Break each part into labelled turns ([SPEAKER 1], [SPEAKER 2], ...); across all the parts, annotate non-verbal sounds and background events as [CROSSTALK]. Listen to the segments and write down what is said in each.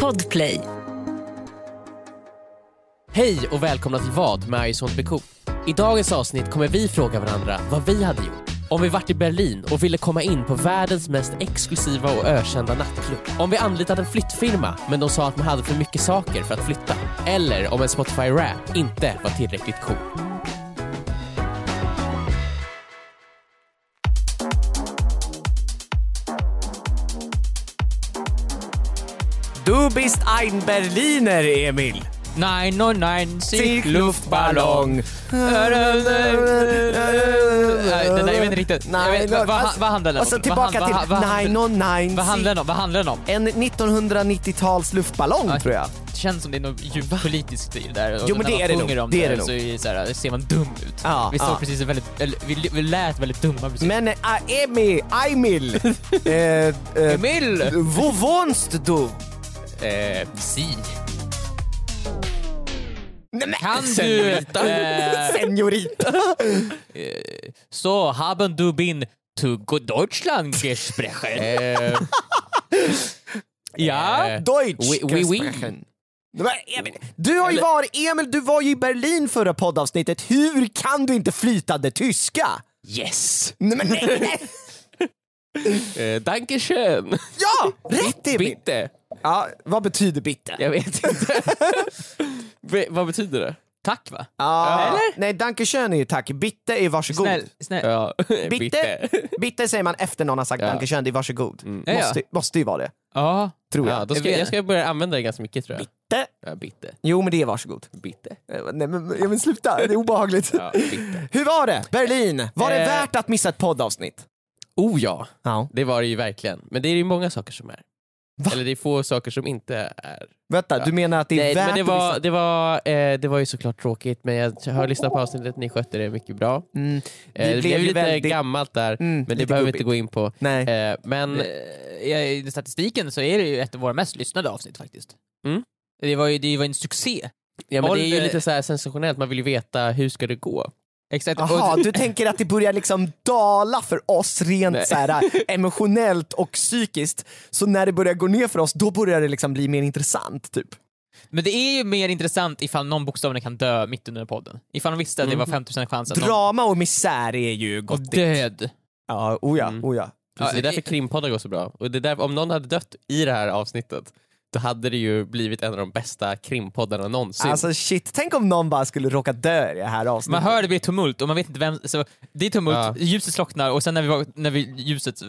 [SPEAKER 1] Podplay.
[SPEAKER 2] Hej och välkomna till vad med I sånt blir cool. I dagens avsnitt kommer vi fråga varandra vad vi hade gjort. Om vi varit i Berlin och ville komma in på världens mest exklusiva och ökända nattklubb. Om vi anlitat en flyttfirma men de sa att man hade för mycket saker för att flytta. Eller om en Spotify-rap inte var tillräckligt cool.
[SPEAKER 3] Du bist ein Berliner, Emil.
[SPEAKER 4] Nein, nein, nein,
[SPEAKER 3] Sick Luftballong.
[SPEAKER 4] Nej, den där, jag vet inte riktigt. Jag vet, vad, vad, vad handlar den om?
[SPEAKER 3] Och så
[SPEAKER 4] Vad
[SPEAKER 3] Alltså, tillbaka
[SPEAKER 4] han- vad-
[SPEAKER 3] till
[SPEAKER 4] vad-
[SPEAKER 3] Nine on Nine.
[SPEAKER 4] Vad handlar den om? Vad handlar den om?
[SPEAKER 3] En 1990-tals luftballong
[SPEAKER 4] Ja.
[SPEAKER 3] tror jag.
[SPEAKER 4] Det känns som det är något djupt politiskt i det där. Och
[SPEAKER 3] Jo, men det
[SPEAKER 4] när man
[SPEAKER 3] är det
[SPEAKER 4] sjunger
[SPEAKER 3] nog.
[SPEAKER 4] om
[SPEAKER 3] Det är
[SPEAKER 4] där
[SPEAKER 3] det
[SPEAKER 4] så,
[SPEAKER 3] nog.
[SPEAKER 4] är det så här, ser man dum ut.
[SPEAKER 3] Ja,
[SPEAKER 4] vi,
[SPEAKER 3] ja.
[SPEAKER 4] såg precis väldigt, eller, vi, vi lät väldigt dumma precis.
[SPEAKER 3] Men äh, Emil,
[SPEAKER 4] [LAUGHS]
[SPEAKER 3] Emil. eh, eh,
[SPEAKER 4] Emil!
[SPEAKER 3] Wo wohnst du?
[SPEAKER 4] Eh, si.
[SPEAKER 3] Nej, men-
[SPEAKER 4] Kan du...
[SPEAKER 3] Senorita.
[SPEAKER 4] eh,
[SPEAKER 3] [LAUGHS] Senorita.
[SPEAKER 4] så, haben du bin to go Deutschland gesprochen? [LAUGHS]
[SPEAKER 2] Eh,
[SPEAKER 4] ja.
[SPEAKER 2] eh,
[SPEAKER 3] Deutsch.
[SPEAKER 2] Oui, oui, oui.
[SPEAKER 3] gesprochen. Nej, men Emil, Du har ju varit, Emil, du var ju i Berlin förra poddavsnittet. Hur kan du inte flytande tyska?
[SPEAKER 2] yes!
[SPEAKER 3] Nej, men nej,
[SPEAKER 4] [LAUGHS]
[SPEAKER 3] nej.
[SPEAKER 2] Eh, danke schön!
[SPEAKER 3] Ja, rätt Emil!
[SPEAKER 2] Bitte!
[SPEAKER 3] Ja, vad betyder bitte?
[SPEAKER 2] Jag vet inte.
[SPEAKER 4] [LAUGHS]
[SPEAKER 2] Ve- vad betyder det?
[SPEAKER 4] Tack va?
[SPEAKER 3] Ja. Nej, danke schön är ju tack. Bitte är varsågod.
[SPEAKER 4] Snäll, snäll.
[SPEAKER 2] Ja,
[SPEAKER 3] [LAUGHS] Bitte. bitte säger man efter någon har sagt danke schön, det är varsågod.
[SPEAKER 4] Ja, Mm. ja.
[SPEAKER 3] Måste, måste ju vara det,
[SPEAKER 4] Ja.
[SPEAKER 3] tror jag.
[SPEAKER 2] Ja, då ska,
[SPEAKER 4] Jag vet.
[SPEAKER 2] jag ska börja använda det ganska mycket tror jag.
[SPEAKER 3] Bitte.
[SPEAKER 2] Ja, bitte.
[SPEAKER 3] Jo men det är varsågod.
[SPEAKER 2] Bitte.
[SPEAKER 3] Eh, Nej men, ja, men sluta, det är obehagligt.
[SPEAKER 2] Ja, bitte.
[SPEAKER 3] Hur var det? Berlin, var det
[SPEAKER 4] Eh.
[SPEAKER 3] värt att missa ett poddavsnitt?
[SPEAKER 2] Oh ja!
[SPEAKER 3] Ja.
[SPEAKER 2] Det var det ju verkligen. Men det är ju många saker som är. Eller det är få saker som inte är.
[SPEAKER 3] Vänta, du menar att det är
[SPEAKER 2] Nej,
[SPEAKER 3] värt
[SPEAKER 2] men det
[SPEAKER 3] att
[SPEAKER 2] var,
[SPEAKER 3] missa?
[SPEAKER 2] det, var, eh, det var ju såklart tråkigt, men jag har lyssnat på avsnittet, ni skötte det mycket bra.
[SPEAKER 3] Mm,
[SPEAKER 2] Eh, det, blev ju lite
[SPEAKER 3] väldigt-
[SPEAKER 2] gammalt där,
[SPEAKER 3] Mm,
[SPEAKER 2] men
[SPEAKER 3] lite
[SPEAKER 2] det behöver vi
[SPEAKER 3] gubbigt.
[SPEAKER 2] inte gå in på.
[SPEAKER 3] Nej.
[SPEAKER 2] Eh, men
[SPEAKER 4] I statistiken så är det ju ett av våra mest lyssnade avsnitt faktiskt.
[SPEAKER 2] Mm.
[SPEAKER 4] Det var ju det var en succé.
[SPEAKER 2] Ja, men det är ju
[SPEAKER 4] Ålder-
[SPEAKER 2] lite så här sensationellt, man vill ju veta hur ska det gå.
[SPEAKER 4] Exakt.
[SPEAKER 3] Jaha,
[SPEAKER 4] Och-
[SPEAKER 3] du tänker att det börjar liksom dala för oss rent så
[SPEAKER 4] [LAUGHS]
[SPEAKER 3] här, emotionellt och psykiskt, så när det börjar gå ner för oss då börjar det liksom bli mer intressant typ.
[SPEAKER 4] Men det är ju mer intressant ifall någon bokstavligen kan dö mitt under podden. Ifall de visste att det var
[SPEAKER 2] Mm.
[SPEAKER 4] 50% chans att någon...
[SPEAKER 3] Drama och misär är ju
[SPEAKER 4] Och Mm.
[SPEAKER 3] gott.
[SPEAKER 4] död.
[SPEAKER 3] Ja, oh ja, oh ja.
[SPEAKER 2] Precis, det är
[SPEAKER 4] det-
[SPEAKER 2] därför krimpoddar går så bra. Och det är därför, om någon hade dött i det här avsnittet, då hade det ju blivit en av de bästa krimpoddarna någonsin.
[SPEAKER 3] Alltså shit, tänk om någon bara skulle råka dö i det här
[SPEAKER 4] Man
[SPEAKER 3] avsnittet.
[SPEAKER 4] hör det blir tumult och man vet inte vem... Så det är tumult,
[SPEAKER 2] Ja.
[SPEAKER 4] ljuset slocknar och sen när, vi, var- när vi, ljuset eh,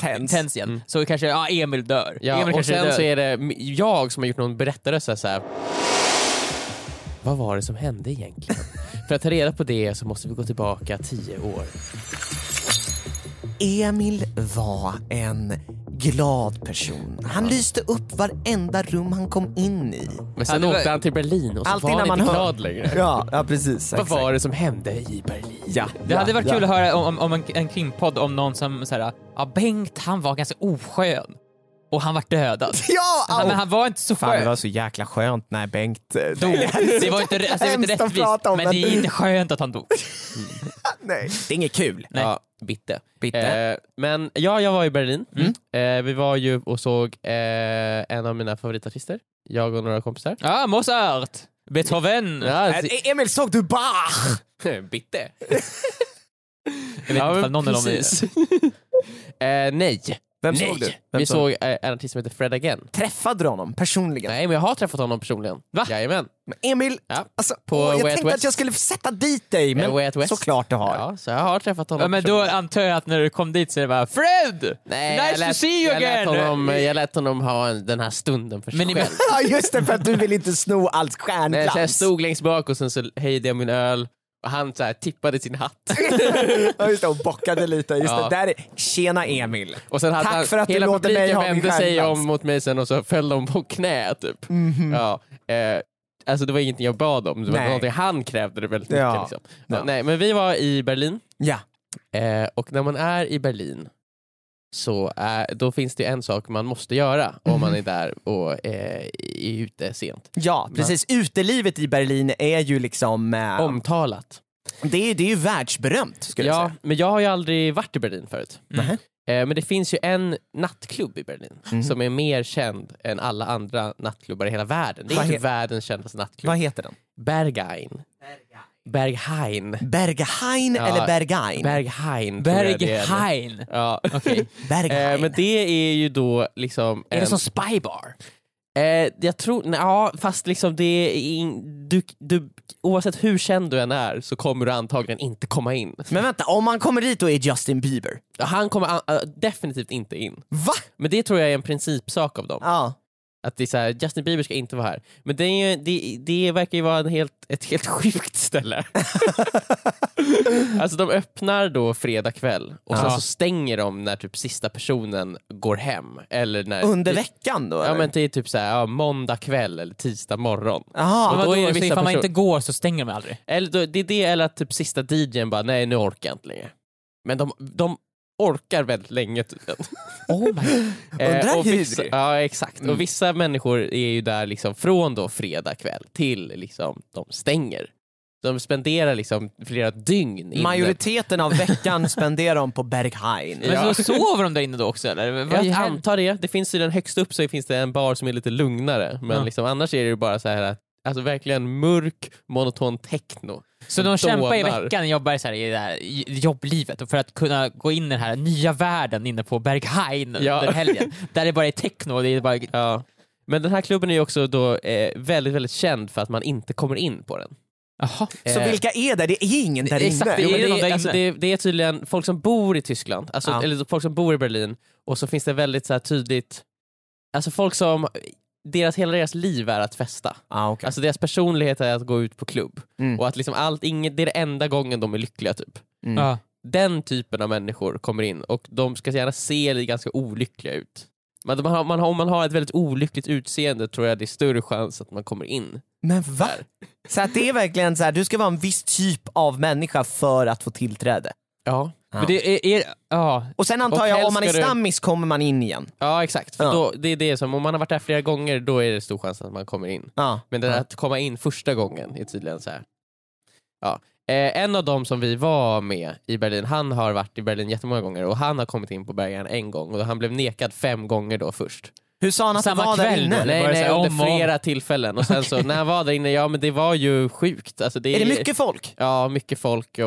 [SPEAKER 3] Tänds.
[SPEAKER 4] tänds igen så kanske ja, Emil dör.
[SPEAKER 2] Mm. Ja,
[SPEAKER 4] Emil
[SPEAKER 2] och
[SPEAKER 4] kanske
[SPEAKER 2] sen
[SPEAKER 4] dör.
[SPEAKER 2] så är det m- jag som har gjort någon berättarröst så här. Vad var det som hände
[SPEAKER 4] [LAUGHS]
[SPEAKER 2] egentligen? För att ta reda på det så måste vi gå tillbaka tio år.
[SPEAKER 3] Emil var en glad person. Han lyste upp varenda rum han kom in i.
[SPEAKER 2] Men sen
[SPEAKER 4] Ja, det var-
[SPEAKER 2] åkte han till Berlin och så
[SPEAKER 3] Alltid
[SPEAKER 2] var
[SPEAKER 3] när
[SPEAKER 2] han
[SPEAKER 3] man
[SPEAKER 2] inte
[SPEAKER 3] hör-
[SPEAKER 2] glad längre.
[SPEAKER 3] [LAUGHS] Ja, ja precis.
[SPEAKER 2] Vad var det som hände i Berlin?
[SPEAKER 3] Ja,
[SPEAKER 4] Det
[SPEAKER 3] ja,
[SPEAKER 4] hade varit
[SPEAKER 3] ja.
[SPEAKER 4] kul att höra om, om, om en, en krimpodd om någon som såhär, ja Bengt han var ganska oskön och han var [LAUGHS] dödad.
[SPEAKER 3] Ja!
[SPEAKER 4] Han,
[SPEAKER 3] au.
[SPEAKER 4] men han var inte så
[SPEAKER 3] Fan det
[SPEAKER 4] skön.
[SPEAKER 3] var så jäkla skönt när Bengt [LAUGHS] eh,
[SPEAKER 4] Dog. Det var inte, alltså, det var
[SPEAKER 3] hemskt
[SPEAKER 4] inte
[SPEAKER 3] att
[SPEAKER 4] rättvist,
[SPEAKER 3] prata om,
[SPEAKER 4] men
[SPEAKER 3] men-
[SPEAKER 4] det är
[SPEAKER 2] [LAUGHS]
[SPEAKER 4] inte skönt att han dog.
[SPEAKER 3] Nej, det är inget kul.
[SPEAKER 4] Nej.
[SPEAKER 2] Ja, bitte. Eh, men ja, jag var i Berlin.
[SPEAKER 4] Mm.
[SPEAKER 2] Eh, vi var ju och såg eh, en av mina favoritartister, jag och några kompisar.
[SPEAKER 4] Ja, Mozart! Beethoven!
[SPEAKER 2] Ja,
[SPEAKER 3] Eh,
[SPEAKER 2] så-
[SPEAKER 3] Emil, såg du Bach?
[SPEAKER 2] [LAUGHS] bitte.
[SPEAKER 4] Jag vet inte om någon av dem är... [LAUGHS]
[SPEAKER 2] eh, nej.
[SPEAKER 3] Vem
[SPEAKER 2] nej.
[SPEAKER 3] såg du? Vem
[SPEAKER 2] Vi
[SPEAKER 3] såg
[SPEAKER 2] såg eh, en artist som heter Fred Again.
[SPEAKER 3] Träffade du honom personligen?
[SPEAKER 2] Nej, men jag har träffat honom personligen.
[SPEAKER 4] Va?
[SPEAKER 2] Jajamän.
[SPEAKER 3] Men Emil,
[SPEAKER 2] Ja.
[SPEAKER 3] alltså,
[SPEAKER 2] På
[SPEAKER 3] åh, jag
[SPEAKER 2] Way Out
[SPEAKER 3] tänkte att
[SPEAKER 2] West.
[SPEAKER 3] jag skulle sätta dit dig, men
[SPEAKER 2] Eh, Way Out West.
[SPEAKER 3] såklart du har.
[SPEAKER 2] Ja, så jag har träffat honom
[SPEAKER 4] Ja, men då
[SPEAKER 2] personligen.
[SPEAKER 4] antar jag att när du kom dit så är det bara Fred!
[SPEAKER 2] jag
[SPEAKER 4] nice
[SPEAKER 2] lät-
[SPEAKER 4] to see you
[SPEAKER 2] Jag lät
[SPEAKER 4] again!
[SPEAKER 2] honom, jag lät honom ha en, den här stunden för sig
[SPEAKER 4] Men ni-
[SPEAKER 2] själv.
[SPEAKER 3] Ja just det, för att du vill inte sno allt
[SPEAKER 2] Nej, Eh, så jag
[SPEAKER 3] stjärnglans.
[SPEAKER 2] stod längst bak och sen så höjde jag min öl och han så här tippade sin
[SPEAKER 3] [LAUGHS]
[SPEAKER 2] hatt.
[SPEAKER 3] Ja, just det, och bockade lite. Just
[SPEAKER 2] Ja.
[SPEAKER 3] det, där är... Tjena Emil.
[SPEAKER 2] Och sen hade
[SPEAKER 3] Tack
[SPEAKER 2] han,
[SPEAKER 3] för att du
[SPEAKER 2] hela
[SPEAKER 3] låter mig
[SPEAKER 2] publiken
[SPEAKER 3] ha min
[SPEAKER 2] vände sig
[SPEAKER 3] stjärnglans. Mhm.
[SPEAKER 2] om mot mig sen och så föll de på knä typ. Ja, eh, alltså det var ingenting jag bad om, det var
[SPEAKER 3] Nej.
[SPEAKER 2] någonting han krävde det väldigt mycket.
[SPEAKER 3] Ja.
[SPEAKER 2] Liksom. Ja,
[SPEAKER 3] Ja.
[SPEAKER 2] Nej, men vi var i Berlin
[SPEAKER 3] Ja.
[SPEAKER 2] eh, och när man är i Berlin så är, då finns det en sak man måste göra om
[SPEAKER 3] Mhm.
[SPEAKER 2] man är där och eh, är ute sent.
[SPEAKER 3] ja, precis. Utelivet i Berlin är ju liksom... Eh,
[SPEAKER 2] Omtalat.
[SPEAKER 3] det, är, det är ju världsberömt skulle jag
[SPEAKER 2] Ja,
[SPEAKER 3] säga.
[SPEAKER 2] men jag har ju aldrig varit i Berlin förut.
[SPEAKER 3] Mhm.
[SPEAKER 2] Eh, Men det finns ju en nattklubb i Berlin
[SPEAKER 4] Mhm.
[SPEAKER 2] som är mer känd än alla andra nattklubbar i hela världen. Det är
[SPEAKER 3] Vad
[SPEAKER 2] inte
[SPEAKER 3] he-
[SPEAKER 2] världens kändaste nattklubb.
[SPEAKER 3] Vad heter den?
[SPEAKER 2] Berghain. Berghain.
[SPEAKER 3] Berghain
[SPEAKER 2] Ja.
[SPEAKER 3] eller Berghain?
[SPEAKER 2] Berghain. tror jag det är.
[SPEAKER 4] Berghain.
[SPEAKER 2] Ja.
[SPEAKER 3] Berghain.
[SPEAKER 2] Eh, Men det är ju då liksom...
[SPEAKER 4] Är det
[SPEAKER 2] en-
[SPEAKER 4] som Spybar?
[SPEAKER 2] Eh, jag tror, nej, ja fast liksom det är in, du, du, oavsett hur känd du än är så kommer du antagligen inte komma in.
[SPEAKER 3] Men vänta, om man kommer dit och är Justin Bieber,
[SPEAKER 2] Han kommer an, äh, definitivt inte in.
[SPEAKER 3] va?
[SPEAKER 2] Men det tror jag är en principsak av dem.
[SPEAKER 3] Ja.
[SPEAKER 2] Att det är så här, Justin Bieber ska inte vara här. Men det, är ju, det, det verkar ju vara en helt, ett helt [LAUGHS] sjukt ställe. alltså de öppnar då fredag kväll och sen
[SPEAKER 4] Ja.
[SPEAKER 2] så stänger de när typ sista personen går hem. Eller när,
[SPEAKER 3] Under veckan då?
[SPEAKER 2] Eh, Ja
[SPEAKER 3] eller?
[SPEAKER 2] men det är typ så här, ja, måndag kväll eller tisdag morgon.
[SPEAKER 3] Jaha.
[SPEAKER 2] Och då är det
[SPEAKER 4] så
[SPEAKER 2] vissa
[SPEAKER 4] ifall man
[SPEAKER 2] personer-
[SPEAKER 4] inte går så stänger de
[SPEAKER 2] [LAUGHS]
[SPEAKER 4] aldrig?
[SPEAKER 2] Eller då, det är det eller att typ sista DJn bara, nej nu orkar jag inte längre. Men de, de orkar väldigt länge typ. tydligen.
[SPEAKER 4] Oh my.
[SPEAKER 3] Undrar
[SPEAKER 2] Eh, och
[SPEAKER 3] hur.
[SPEAKER 2] Vissa, ja exakt,
[SPEAKER 4] Mm.
[SPEAKER 2] och vissa människor är ju där liksom från då fredag kväll till liksom de stänger. De spenderar liksom flera dygn inne.
[SPEAKER 3] Majoriteten av veckan [LAUGHS] spenderar de på Berghain.
[SPEAKER 4] Men
[SPEAKER 2] Ja.
[SPEAKER 4] så sover de där inne då också eller? Vad
[SPEAKER 2] Jag
[SPEAKER 4] är-
[SPEAKER 2] antar det, det finns ju den högst upp så finns det en bar som är lite lugnare men
[SPEAKER 4] Ja.
[SPEAKER 2] liksom, annars är det ju bara så här att Alltså verkligen mörk, monoton techno.
[SPEAKER 4] Så de kämpar i
[SPEAKER 2] dånar.
[SPEAKER 4] veckan, jobbar så här i det här i- jobblivet och för att kunna gå in i den här nya världen inne på Berghain
[SPEAKER 2] Ja. [LAUGHS]
[SPEAKER 4] under helgen. Där det bara är techno och det är bara...
[SPEAKER 2] Ja. Men den här klubben är ju också då, eh, väldigt, väldigt känd för att man inte kommer in på den.
[SPEAKER 4] Jaha.
[SPEAKER 3] Så vilka är där? Det är ingen där
[SPEAKER 2] Exakt,
[SPEAKER 3] inne.
[SPEAKER 2] det,
[SPEAKER 4] Jo, men
[SPEAKER 2] är,
[SPEAKER 4] det är någon
[SPEAKER 2] det,
[SPEAKER 4] där
[SPEAKER 2] alltså,
[SPEAKER 4] inne.
[SPEAKER 2] det, det är tydligen folk som bor i Tyskland, alltså,
[SPEAKER 3] Ja.
[SPEAKER 2] eller folk som bor i Berlin, och så finns det väldigt så här, tydligt, alltså folk som, deras, hela deras liv är att festa.
[SPEAKER 3] Ah, okay.
[SPEAKER 2] Alltså deras personlighet är att gå ut på klubb.
[SPEAKER 3] Mm.
[SPEAKER 2] Och att liksom allt, inget, det är det enda gången de är lyckliga typ.
[SPEAKER 3] Mm.
[SPEAKER 4] Ja.
[SPEAKER 2] Den typen av människor kommer in och de ska gärna se ganska olyckliga ut. Men man har, man har, om man har ett väldigt olyckligt utseende tror jag det är större chans att man kommer in.
[SPEAKER 3] Men va?
[SPEAKER 2] Där.
[SPEAKER 3] Så att det är verkligen så här, du ska vara en viss typ av människa för att få tillträde.
[SPEAKER 2] Ja,
[SPEAKER 4] Men det är... är ja.
[SPEAKER 3] Och sen antar
[SPEAKER 2] Och
[SPEAKER 3] jag,
[SPEAKER 2] helst
[SPEAKER 3] om man är
[SPEAKER 2] ska du-
[SPEAKER 3] stammis kommer man in igen.
[SPEAKER 2] ja exakt. För
[SPEAKER 3] Ja.
[SPEAKER 2] Då, det är det som, om man har varit där flera gånger då är det stor chans att man kommer in.
[SPEAKER 3] Ja.
[SPEAKER 2] Men det där
[SPEAKER 3] Ja.
[SPEAKER 2] att komma in första gången är tydligen så här. Ja. Eh, en av dem som vi var med i Berlin, han har varit i Berlin jättemånga gånger och han har kommit in på Bergen en gång och han blev nekad fem gånger då först.
[SPEAKER 3] Hur sa han att
[SPEAKER 4] Samma
[SPEAKER 3] det var där
[SPEAKER 4] kväll
[SPEAKER 3] inne?
[SPEAKER 4] då, eller?
[SPEAKER 2] Nej,
[SPEAKER 4] var det så
[SPEAKER 2] nej
[SPEAKER 4] här
[SPEAKER 2] under
[SPEAKER 4] om och om?
[SPEAKER 2] flera tillfällen och
[SPEAKER 3] [LAUGHS]
[SPEAKER 2] sen så när han var där inne, ja men det var ju sjukt. Alltså, det
[SPEAKER 3] Är det mycket folk?
[SPEAKER 2] Ja, mycket folk och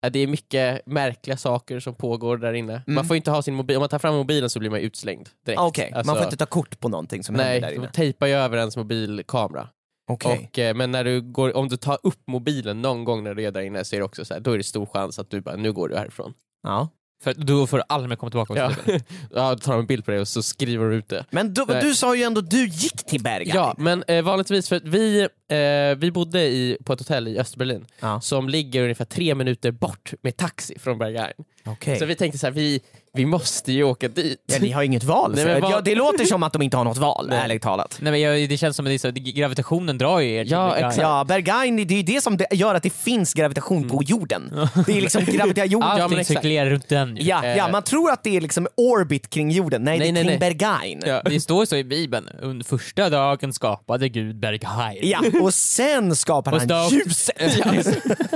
[SPEAKER 2] ja, det är mycket märkliga saker som pågår där inne. Man får inte ha sin mobil, om man tar fram mobilen så blir man utslängd direkt.
[SPEAKER 3] Ah, Mm. Okej,
[SPEAKER 2] Alltså,
[SPEAKER 3] man får inte ta kort på någonting som
[SPEAKER 2] Nej,
[SPEAKER 3] händer där
[SPEAKER 2] de
[SPEAKER 3] inne.
[SPEAKER 2] tejpar ju över ens mobilkamera.
[SPEAKER 3] Okej.
[SPEAKER 2] Och, eh, men när du går, om du tar upp mobilen någon gång när du är där inne så är det också så här, då är det stor chans att du bara, nu går du härifrån.
[SPEAKER 3] Ja.
[SPEAKER 4] För då får du aldrig mer komma tillbaka.
[SPEAKER 2] Ja. [LAUGHS] ja, då tar de en bild på dig och så skriver du ut det.
[SPEAKER 3] Men du,
[SPEAKER 2] Nej.
[SPEAKER 3] du sa ju ändå du gick till Berghain.
[SPEAKER 2] Ja, men eh, vanligtvis, för att vi, eh, vi bodde i, på ett hotell i Östberlin
[SPEAKER 3] Ja.
[SPEAKER 2] som ligger ungefär tre minuter bort med taxi från Berghain.
[SPEAKER 3] Okej.
[SPEAKER 2] Så vi tänkte så här, vi, vi måste ju åka dit.
[SPEAKER 3] Ja, ni har inget val.
[SPEAKER 2] Nej,
[SPEAKER 3] så-
[SPEAKER 2] men vad-
[SPEAKER 3] ja, det låter som att de inte har något val,
[SPEAKER 2] Nej.
[SPEAKER 3] ärligt talat.
[SPEAKER 4] Nej, men jag, det känns som att det är så, gravitationen drar ju er till
[SPEAKER 2] Ja,
[SPEAKER 4] Berghain.
[SPEAKER 2] exakt.
[SPEAKER 3] Ja, Berghain, det är ju det som det- gör att det finns gravitation
[SPEAKER 2] Mm.
[SPEAKER 3] på jorden. Det är
[SPEAKER 2] [LAUGHS]
[SPEAKER 3] liksom gravitation.
[SPEAKER 2] Ja,
[SPEAKER 4] Allting
[SPEAKER 2] men exakt.
[SPEAKER 4] cirkulerar runt den ju.
[SPEAKER 3] Ja, ja, man tror att det är liksom orbit kring jorden. Nej,
[SPEAKER 2] Eh. Nej,
[SPEAKER 3] det är
[SPEAKER 2] nej,
[SPEAKER 3] kring Berghain. Ja.
[SPEAKER 2] [LAUGHS] Ja.
[SPEAKER 4] Det står ju så i Bibeln,
[SPEAKER 2] [LAUGHS]
[SPEAKER 4] under första dagen skapade Gud Berghain.
[SPEAKER 3] och sen skapar
[SPEAKER 4] Och
[SPEAKER 3] han
[SPEAKER 4] stå-
[SPEAKER 3] ljuset.
[SPEAKER 2] [LAUGHS]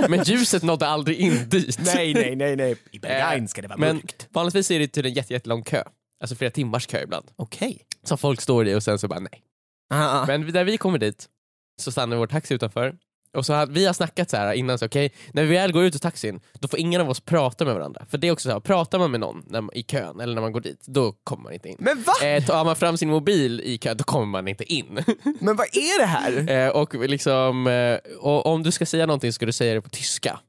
[SPEAKER 2] Men ljuset nådde aldrig in dit.
[SPEAKER 3] [LAUGHS] Nej, nej, nej, nej. I Berghain
[SPEAKER 2] Eh,
[SPEAKER 3] ska det vara
[SPEAKER 2] Men
[SPEAKER 3] mörkt.
[SPEAKER 2] vanligtvis är det tydligen jätte, jättelång kö. Alltså flera timmars kö ibland.
[SPEAKER 3] Okej.
[SPEAKER 2] Som folk står i och sen så bara nej.
[SPEAKER 3] Ah, ah.
[SPEAKER 2] Men när vi kommer dit så stannar vår taxi utanför. Och så har, vi har snackat så här innan, så okej, när vi väl går ut ur taxin, då får ingen av oss prata med varandra. För det är också så här, pratar man med någon när, man- i kön eller när man går dit, då kommer man inte in.
[SPEAKER 3] Men va?
[SPEAKER 2] Eh, tar man fram sin mobil i kön, då kommer man inte in.
[SPEAKER 3] Men vad är det här?
[SPEAKER 2] Eh, och liksom, eh, och om du ska säga någonting ska du säga det på tyska.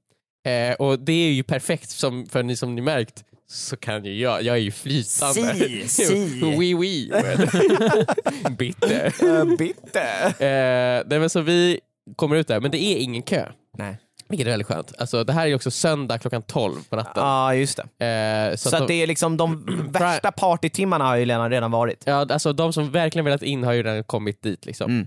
[SPEAKER 2] Eh, och det är ju perfekt, som, för ni som ni märkt så kan ju jag, jag är ju flytande.
[SPEAKER 3] Si,
[SPEAKER 2] [LAUGHS]
[SPEAKER 3] si.
[SPEAKER 2] oui, oui. Bitte.
[SPEAKER 3] Eh, Bitte.
[SPEAKER 2] Eh, nej men så vi kommer ut där, men det är ingen kö.
[SPEAKER 3] Nej.
[SPEAKER 2] Vilket är väldigt skönt. Alltså, det här är ju också söndag klockan 12 på natten.
[SPEAKER 3] Ja, just det.
[SPEAKER 2] Eh, så
[SPEAKER 3] Så
[SPEAKER 2] att
[SPEAKER 3] att
[SPEAKER 2] de,
[SPEAKER 3] det är liksom de värsta partytimmarna har ju redan redan varit.
[SPEAKER 2] ja, alltså, de som verkligen velat in har ju redan kommit dit. Liksom.
[SPEAKER 3] Mm.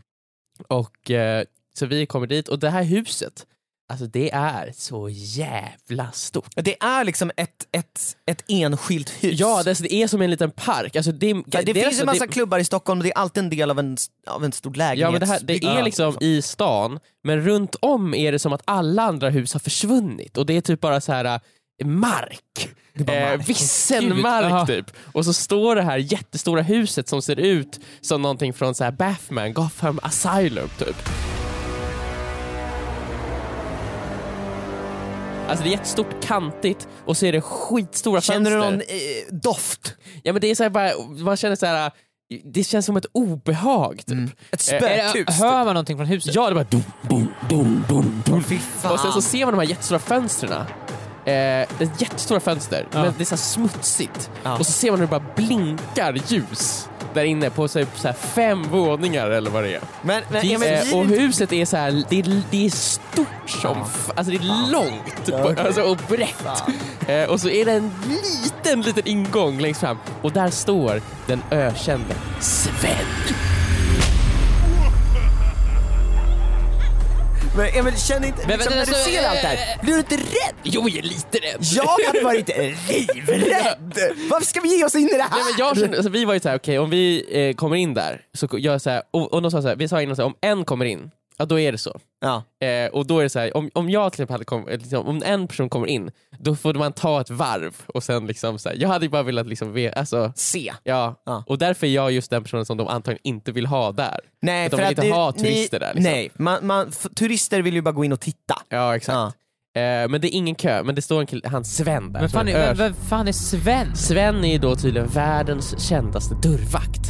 [SPEAKER 2] Och, eh, så vi kommer dit och det här huset, alltså det är så jävla stort.
[SPEAKER 3] Det är liksom ett, ett, ett enskilt hus.
[SPEAKER 2] Ja, det, det är som en liten park. Alltså, det,
[SPEAKER 3] Ja, det,
[SPEAKER 2] är
[SPEAKER 3] finns
[SPEAKER 2] alltså-
[SPEAKER 3] en massa
[SPEAKER 2] det-
[SPEAKER 3] klubbar i Stockholm och det är alltid en del av en, av en stor lägenhet.
[SPEAKER 2] Ja, men det, här, det är liksom i stan, men runt om är det som att alla andra hus har försvunnit och det är typ bara så här eh, mark.
[SPEAKER 3] bara,
[SPEAKER 2] eh,
[SPEAKER 3] nej.
[SPEAKER 4] Gud,
[SPEAKER 2] visselmark
[SPEAKER 4] aha.
[SPEAKER 2] typ. Och så står det här jättestora huset som ser ut som någonting från så här Batman, Gotham Asylum typ. Alltså det är jättestort, kantigt och så är det skitstora
[SPEAKER 3] Känner du
[SPEAKER 2] fönster.
[SPEAKER 3] någon eh, doft?
[SPEAKER 2] Ja men det är så här bara, man känner så här. Det känns som ett obehag typ.
[SPEAKER 3] Ett
[SPEAKER 2] Eh,
[SPEAKER 4] Är det-
[SPEAKER 3] spökhus?
[SPEAKER 4] Hör man någonting från huset?
[SPEAKER 2] Ja, det bara dum, dum, dum, dum, dum.
[SPEAKER 3] Fy fan.
[SPEAKER 2] Och sen så ser man de här jättestora fönstren. Eh, det är jättestora fönster,
[SPEAKER 3] Ah.
[SPEAKER 2] men det är så här smutsigt.
[SPEAKER 3] Ja.
[SPEAKER 2] Och så ser man hur det bara blinkar ljus där inne på så här, så här fem våningar eller vad det är.
[SPEAKER 3] men, men, ja, men,
[SPEAKER 2] eh,
[SPEAKER 3] vi- Ah.
[SPEAKER 2] och huset är så här, det är, det är stort som f- Alltså det är långt
[SPEAKER 3] Ja, okej.
[SPEAKER 2] alltså, och brett. Eh, och så är det en liten, liten ingång längst fram och där står den ökände Sven.
[SPEAKER 3] men, ja, men känner inte,
[SPEAKER 4] Men-
[SPEAKER 3] liksom,
[SPEAKER 4] men-
[SPEAKER 3] när du
[SPEAKER 4] alltså,
[SPEAKER 3] ser
[SPEAKER 4] eh,
[SPEAKER 3] allt det här, blir du inte rädd?
[SPEAKER 2] Jo, jag är lite rädd.
[SPEAKER 3] Jag hade varit livrädd! Varför ska vi ge oss in i det här?
[SPEAKER 2] Nej, men jag kände, alltså, vi var ju såhär, okej om vi eh, kommer in där, så ko- gör så här, och, och de sa såhär, vi sa innan såhär, om en kommer in, ja då är det så.
[SPEAKER 3] ja.
[SPEAKER 2] Eh, och då är det så här, om, om jag till exempel hade kom, eh, liksom, om en person kommer in, då får man ta ett varv och sen liksom så här, jag hade ju bara velat liksom veta, alltså
[SPEAKER 3] Se.
[SPEAKER 2] Ja,
[SPEAKER 3] Ja.
[SPEAKER 2] och därför är jag just den personen som de antagligen inte vill ha där.
[SPEAKER 3] Nej,
[SPEAKER 2] Att de
[SPEAKER 3] för
[SPEAKER 2] vill
[SPEAKER 3] att
[SPEAKER 2] inte
[SPEAKER 3] det-
[SPEAKER 2] ha
[SPEAKER 3] ni-
[SPEAKER 2] turister där. Liksom.
[SPEAKER 3] Nej, man, man, f- turister vill ju bara gå in och titta.
[SPEAKER 2] Ja, exakt. Eh, men det är ingen kö, men det står en kille, han Sven där.
[SPEAKER 4] Men
[SPEAKER 2] som
[SPEAKER 4] fan, är-
[SPEAKER 2] en
[SPEAKER 4] vem,
[SPEAKER 2] ös-
[SPEAKER 4] vem fan är Sven?
[SPEAKER 2] Sven är ju då tydligen världens kändaste dörrvakt.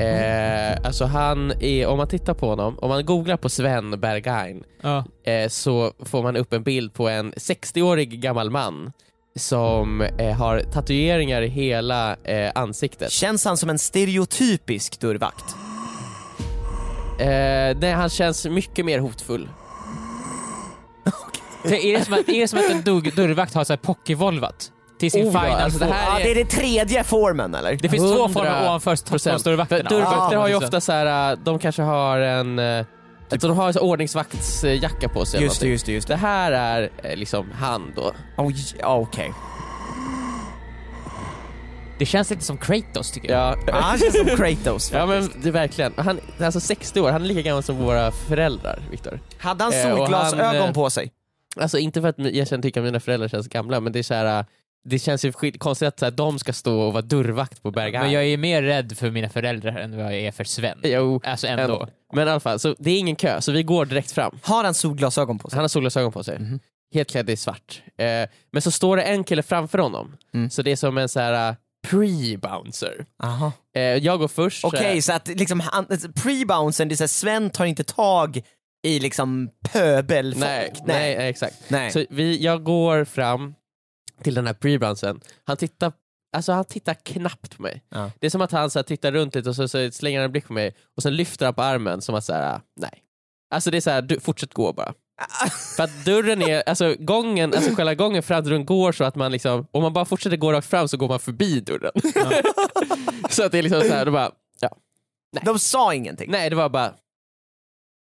[SPEAKER 2] Eh, alltså han är, om man tittar på honom, om man googlar på Sven Berghain
[SPEAKER 4] Ja.
[SPEAKER 2] eh, så får man upp en bild på en 60-årig gammal man som eh, har tatueringar i hela eh, ansiktet.
[SPEAKER 3] Känns han som en stereotypisk dörrvakt?
[SPEAKER 2] Eh, nej, han känns mycket mer hotfull.
[SPEAKER 4] Det är, som att, är det som att en dug- dörrvakt har så här pockeyvolvat till sin
[SPEAKER 2] Oh, ja,
[SPEAKER 4] final
[SPEAKER 2] alltså det
[SPEAKER 4] form?
[SPEAKER 2] här
[SPEAKER 3] Ja, det är det tredje formen eller?
[SPEAKER 4] Det finns två
[SPEAKER 2] 100%
[SPEAKER 4] former ovanför
[SPEAKER 2] procent.
[SPEAKER 4] Stockholmsdörrvakterna.
[SPEAKER 2] Dörrvakter
[SPEAKER 3] Ah,
[SPEAKER 2] har ju
[SPEAKER 4] precis.
[SPEAKER 2] ofta så här, äh, de kanske har en, äh, alltså de har en sån här ordningsvaktsjacka på sig. eller
[SPEAKER 3] Just det,
[SPEAKER 2] någonting.
[SPEAKER 3] just det, just
[SPEAKER 2] det
[SPEAKER 3] det.
[SPEAKER 2] här är äh, liksom han då.
[SPEAKER 3] Oh, j- ja, okej.
[SPEAKER 4] Det känns lite som Kratos tycker jag.
[SPEAKER 2] Ja,
[SPEAKER 3] Ah, Han känns som
[SPEAKER 2] [LAUGHS]
[SPEAKER 3] Kratos.
[SPEAKER 2] ja men det är verkligen. Han är alltså 60 år, han är lika gammal som våra föräldrar, Viktor.
[SPEAKER 3] Hade han
[SPEAKER 2] Eh, och
[SPEAKER 3] solglasögon
[SPEAKER 2] han, eh,
[SPEAKER 3] på sig?
[SPEAKER 2] Alltså inte för att jag känner tycker att mina föräldrar känns gamla, men det är så här, äh, det känns ju skit- konstigt att så här, de ska stå och vara dörrvakt på Berghain.
[SPEAKER 4] Men jag är mer rädd för mina föräldrar än vad jag är för Sven.
[SPEAKER 2] Jo,
[SPEAKER 4] Alltså
[SPEAKER 2] ändå.
[SPEAKER 4] ändå.
[SPEAKER 2] Men i alla fall, så det är ingen kö, så vi går direkt fram.
[SPEAKER 3] Har han solglasögon på sig?
[SPEAKER 2] Han har solglasögon på sig.
[SPEAKER 3] Mhm.
[SPEAKER 2] Helt klädd i svart. Eh, men så står det en kille framför honom.
[SPEAKER 3] Mm.
[SPEAKER 2] Så det är som en så här eh, pre-bouncer.
[SPEAKER 3] Aha.
[SPEAKER 2] Eh, jag går först. så
[SPEAKER 3] Okej,
[SPEAKER 2] här-
[SPEAKER 3] så att liksom han- pre-bouncen, det är såhär Sven tar inte tag i liksom pöbelfolk.
[SPEAKER 2] nej, nej, nej, exakt.
[SPEAKER 3] nej.
[SPEAKER 2] Så vi, jag går fram till den här pre-bouncern. Han tittar Alltså han tittar knappt på mig.
[SPEAKER 3] Ja.
[SPEAKER 2] Det är som att han så här, tittar runt lite och så, så slänger han en blick på mig och sen lyfter han på armen som att så här, eh, nej. Alltså det är så här, du, fortsätt gå
[SPEAKER 4] [LAUGHS]
[SPEAKER 2] bara. För att dörren är, alltså gången, alltså själva gången fram till dörren går så att man liksom, om man bara fortsätter gå rakt fram så går man förbi dörren. [LAUGHS] så att det är liksom så här, då bara,
[SPEAKER 3] De sa ingenting.
[SPEAKER 2] nej det var bara,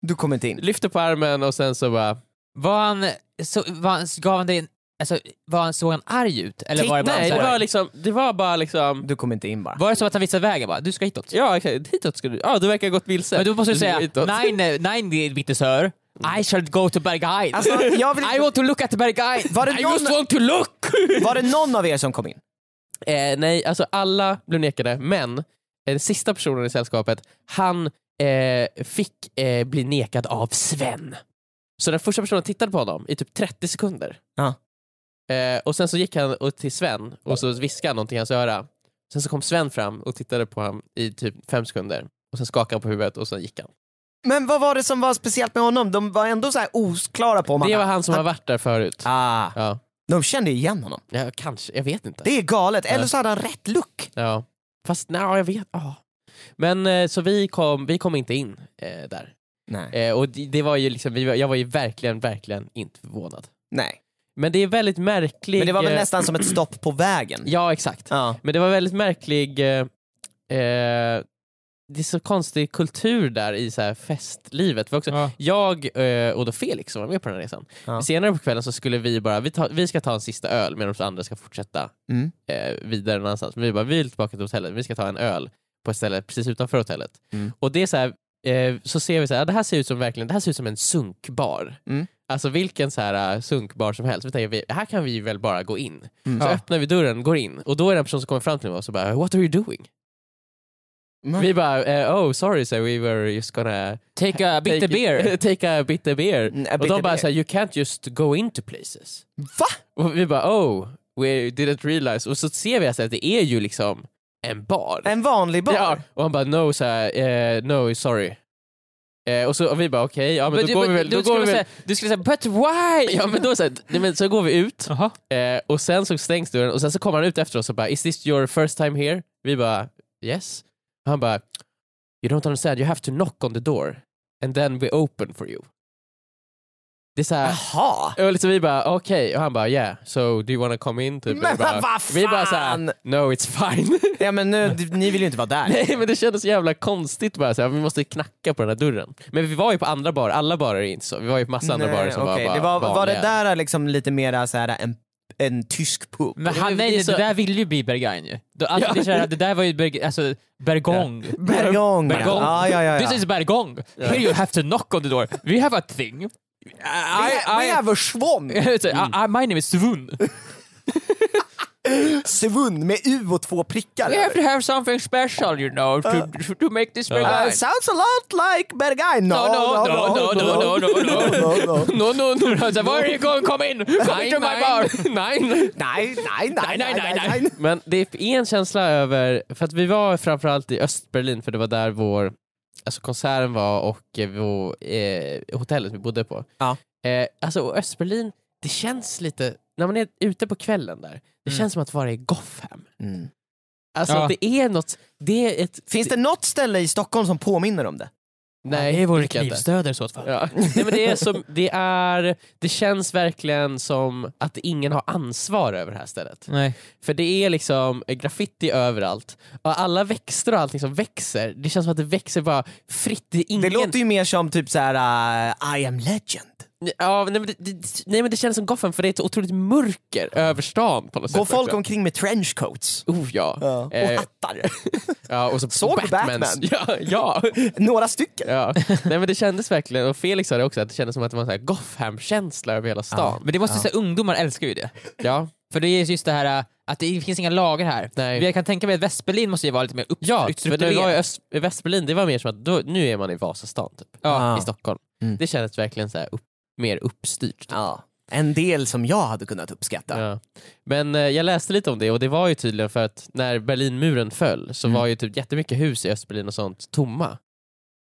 [SPEAKER 3] Du kom inte in.
[SPEAKER 2] lyfter på armen och sen så bara,
[SPEAKER 4] Var han, så, var han, gav han dig en, alltså, var han, såg han arg ut? Eller
[SPEAKER 3] Titt-
[SPEAKER 4] var det bara
[SPEAKER 2] nej
[SPEAKER 4] så
[SPEAKER 2] det
[SPEAKER 4] här-
[SPEAKER 2] var liksom, det var bara liksom,
[SPEAKER 3] Du kom inte in bara.
[SPEAKER 4] Var det så att han visade vägen bara? Du ska hitåt.
[SPEAKER 2] ja exakt, hitåt ska du, ja du verkar ha gått vilse.
[SPEAKER 4] Men då måste du säga,
[SPEAKER 2] Hitåt. [LAUGHS]
[SPEAKER 4] nein, eh, nein, bitte sir. I shall go to Berghain.
[SPEAKER 3] Alltså, jag
[SPEAKER 4] I
[SPEAKER 2] [LAUGHS]
[SPEAKER 3] vill...
[SPEAKER 4] want to look at Berghain.
[SPEAKER 3] Var det
[SPEAKER 4] I
[SPEAKER 3] någon-
[SPEAKER 4] just want to look!
[SPEAKER 3] Var det någon av er som kom in?
[SPEAKER 2] Eh, nej, alltså alla blev nekade, men eh, den sista personen i sällskapet, han eh, fick eh, bli nekad av Sven. Så den första personen tittade på honom i typ 30 sekunder.
[SPEAKER 3] Ja.
[SPEAKER 2] Eh, och sen så gick han och- till Sven och så viskade han någonting i hans öra. Sen så kom Sven fram och tittade på honom i typ fem sekunder. Och sen skakade han på huvudet och sen gick han.
[SPEAKER 3] Men vad var det som var speciellt med honom? De var ändå så här oklara på om
[SPEAKER 2] Det var han som har varit där förut.
[SPEAKER 3] Ah,
[SPEAKER 2] Ja.
[SPEAKER 3] de kände ju igen honom.
[SPEAKER 2] ja, kanske. Jag vet inte.
[SPEAKER 3] Det är galet, eller så hade han rätt look.
[SPEAKER 2] Ja. Fast nej, jag vet. ja. Men eh, så vi kom, vi kom inte in eh, där.
[SPEAKER 3] Nej.
[SPEAKER 2] Eh, och det, det var ju liksom, vi var, jag var ju verkligen, verkligen inte förvånad.
[SPEAKER 3] Nej.
[SPEAKER 2] Men det är väldigt märklig...
[SPEAKER 3] Men det var väl
[SPEAKER 2] eh,
[SPEAKER 3] nästan som ett stopp på vägen.
[SPEAKER 2] Ja, exakt.
[SPEAKER 3] Ja.
[SPEAKER 2] Men det var väldigt märklig... Eh, eh, det är så konstig kultur där i så här festlivet. Det var Också,
[SPEAKER 4] Ja.
[SPEAKER 2] Jag eh, och då Felix som var med på den här resan,
[SPEAKER 3] Ja.
[SPEAKER 2] senare på kvällen så skulle vi bara, vi, ta, vi ska ta en sista öl medan de andra ska fortsätta
[SPEAKER 3] Mm.
[SPEAKER 2] eh, vidare någon annanstans. Men vi bara, vi vill tillbaka till hotellet, vi ska ta en öl på ett ställe precis utanför hotellet.
[SPEAKER 3] Mm.
[SPEAKER 2] "Ah, Och det är så här, eh, så ser vi så här, det här ser ut som verkligen, det här ser ut som en sunkbar.
[SPEAKER 3] Mm.
[SPEAKER 2] Alltså vilken så här äh, sunkbar som helst. Vi tänker, vi, här kan vi väl bara gå in.
[SPEAKER 3] Mm.
[SPEAKER 2] Så
[SPEAKER 4] Ja.
[SPEAKER 2] öppnar vi dörren, går in och då är det en person som kommer fram till oss och bara “What are you doing?”
[SPEAKER 3] Mm.
[SPEAKER 2] Vi bara eh, “Oh sorry sir, we were just gonna
[SPEAKER 4] Take a bit of
[SPEAKER 2] [LAUGHS]
[SPEAKER 4] beer.
[SPEAKER 2] take a bitter beer”.
[SPEAKER 3] Mm, a
[SPEAKER 2] och
[SPEAKER 3] bitter
[SPEAKER 2] de bara
[SPEAKER 3] beer.
[SPEAKER 2] såhär “You can't just go into places”.
[SPEAKER 3] Va?
[SPEAKER 2] Och vi bara “Oh, we didn't realize” och så ser vi alltså att det är ju liksom en bar.
[SPEAKER 3] En vanlig bar?
[SPEAKER 2] Ja, och han bara “No sir, eh, no sorry”. Eh, och, så, och vi bara “Okej, ja men
[SPEAKER 4] Men
[SPEAKER 2] då går vi väl...”
[SPEAKER 4] du,
[SPEAKER 2] Då går
[SPEAKER 4] skulle
[SPEAKER 2] vi väl
[SPEAKER 4] säga, du skulle säga “But why?”
[SPEAKER 2] [LAUGHS] Ja men då så, här, nej, men så går vi ut
[SPEAKER 4] Jaha.
[SPEAKER 2] Eh, och sen så stängs dörren och sen så kommer han ut efter oss och bara “Is this your first time here?” Vi bara “Yes”. Han bara “You don't understand, you have to knock on the door and then we open for you”. Det är såhär,
[SPEAKER 3] Jaha!
[SPEAKER 2] och liksom vi bara okej, och han bara “Yeah, so do you wanna come in?” typ.
[SPEAKER 3] Men
[SPEAKER 2] vi bara,
[SPEAKER 3] vad
[SPEAKER 2] Vi bara
[SPEAKER 3] fan!
[SPEAKER 2] såhär “No, it's fine”. [LAUGHS]
[SPEAKER 3] Ja men nu, d- ni vill ju inte vara där.
[SPEAKER 2] Nej men det kändes så jävla konstigt bara såhär, vi måste knacka på den här dörren. Men vi var ju på andra barer, alla barer är inte så. Vi var ju på massa andra
[SPEAKER 3] Nej,
[SPEAKER 2] barer som
[SPEAKER 3] okej.
[SPEAKER 2] var
[SPEAKER 3] det
[SPEAKER 2] bara
[SPEAKER 3] var, var det
[SPEAKER 2] vanliga.
[SPEAKER 3] där liksom lite mera så här, en, en tysk pub?
[SPEAKER 4] Men
[SPEAKER 2] Ja,
[SPEAKER 4] han,
[SPEAKER 2] men
[SPEAKER 4] nej,
[SPEAKER 2] det är
[SPEAKER 4] nej,
[SPEAKER 2] så-
[SPEAKER 4] det där ville ju bli Berghain ju. Då- Alltså,
[SPEAKER 2] Ja.
[SPEAKER 4] det, är så här, det där var ju Berg, alltså, Bergong.
[SPEAKER 3] Bergong!
[SPEAKER 4] Bergong.
[SPEAKER 3] Ja, ja, ja, ja.
[SPEAKER 4] This is Bergong. Here you have to knock on the door. We have a thing. I,
[SPEAKER 3] We ha- we
[SPEAKER 4] [LAUGHS] I,
[SPEAKER 3] have a schwon!
[SPEAKER 4] I, I, my name is Svun.
[SPEAKER 3] Svun med U och två prickar
[SPEAKER 4] We have
[SPEAKER 3] över.
[SPEAKER 4] to have something special you know to, to make this
[SPEAKER 3] Uh,
[SPEAKER 4] Berghain.
[SPEAKER 3] sounds a lot like Berghain. No,
[SPEAKER 4] No, no, no, no, no,
[SPEAKER 3] [LAUGHS]
[SPEAKER 4] no,
[SPEAKER 3] no,
[SPEAKER 2] [LAUGHS]
[SPEAKER 3] no.
[SPEAKER 4] No, no, no. Alltså, var är kom, kom in! Kom in to my bar! Nej!
[SPEAKER 3] Nej, nej, nej,
[SPEAKER 4] Nej, nej, nej, nej.
[SPEAKER 2] Men det är en känsla över, för att vi var framförallt i Östberlin för det var där vår alltså konserten var och eh, vår, eh, hotellet vi bodde på.
[SPEAKER 3] Ja.
[SPEAKER 2] Eh, alltså och Östberlin, det känns lite, när man är ute på kvällen där, det
[SPEAKER 4] Mm.
[SPEAKER 2] känns som att vara i Gotham.
[SPEAKER 3] Mm.
[SPEAKER 2] Alltså
[SPEAKER 4] Ja.
[SPEAKER 2] det är något, det är ett...
[SPEAKER 3] Finns det något ställe i Stockholm som påminner om det?
[SPEAKER 2] Nej, det
[SPEAKER 4] vår
[SPEAKER 2] tycker jag inte.
[SPEAKER 4] knivstöder så att fan.
[SPEAKER 2] Ja. Nej, men det, är som, det, är, det känns verkligen som att ingen har ansvar över det här stället.
[SPEAKER 4] Nej.
[SPEAKER 2] För det är liksom graffiti överallt. Och alla växter och allting som växer, det känns som att det växer bara fritt. Det, är ingen...
[SPEAKER 3] Det låter ju mer som typ så här uh, I am legend.
[SPEAKER 2] ja, nej, men det, det, nej men det känns som Gotham för det är ett otroligt mörker över stan på något
[SPEAKER 3] Går
[SPEAKER 2] sätt.
[SPEAKER 3] folk
[SPEAKER 2] också.
[SPEAKER 3] omkring med trenchcoats?
[SPEAKER 2] Oh ja.
[SPEAKER 3] Ja. Och
[SPEAKER 2] Eh,
[SPEAKER 3] hattar. [LAUGHS]
[SPEAKER 2] ja och så
[SPEAKER 3] Såg du
[SPEAKER 2] Batmans- [LAUGHS] Ja, ja,
[SPEAKER 3] Några stycken.
[SPEAKER 2] ja. Nej men det kändes verkligen, och Felix sa det också, att det kändes som att det var en sån här Gotham-känsla över hela stan.
[SPEAKER 4] Men det måste säga, ungdomar älskar ju det.
[SPEAKER 2] Ja.
[SPEAKER 4] För det är just det här äh, att det finns inga lagar här.
[SPEAKER 2] Nej.
[SPEAKER 4] Jag kan tänka mig att Västberlin måste ju vara lite mer upp-
[SPEAKER 2] Ja, för när vi var i
[SPEAKER 4] uppstrukturerat.
[SPEAKER 2] Öst, i Västberlin, det var mer som att då, nu är man i Vasastan typ.
[SPEAKER 3] Ja.
[SPEAKER 2] I Stockholm.
[SPEAKER 3] Mm.
[SPEAKER 2] Det kändes verkligen så här upp, mer uppstyrt. Typ.
[SPEAKER 3] Ja. En del som jag hade kunnat uppskatta.
[SPEAKER 2] Ja. Men eh, jag läste lite om det och det var ju tydligen för att när Berlinmuren föll så
[SPEAKER 3] Mm.
[SPEAKER 2] var ju typ jättemycket hus i Östberlin och sånt tomma.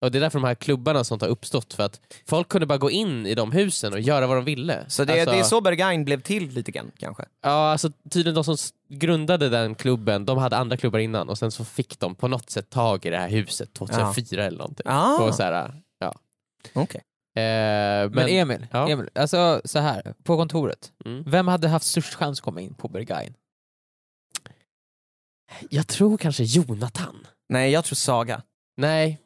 [SPEAKER 2] Och det är därför de här klubbarna och sånt har uppstått för att folk kunde bara gå in i de husen och göra vad de ville.
[SPEAKER 3] Så det,
[SPEAKER 2] alltså,
[SPEAKER 3] det är så Berghain blev till lite grann kanske.
[SPEAKER 2] Ja, alltså tydligen de som s- grundade den klubben, de hade andra klubbar innan och sen så fick de på något sätt tag i det här huset 2004 eller någonting.
[SPEAKER 3] Ah,
[SPEAKER 2] Och så här, eh, ja.
[SPEAKER 3] okej.
[SPEAKER 2] Eh,
[SPEAKER 4] Men Emil,
[SPEAKER 2] Ja.
[SPEAKER 4] Emil, alltså så här på kontoret.
[SPEAKER 2] Mm.
[SPEAKER 4] Vem hade haft störst chans att komma in på Berghain?
[SPEAKER 2] jag tror kanske Jonathan.
[SPEAKER 3] Nej, jag tror Saga.
[SPEAKER 2] Nej.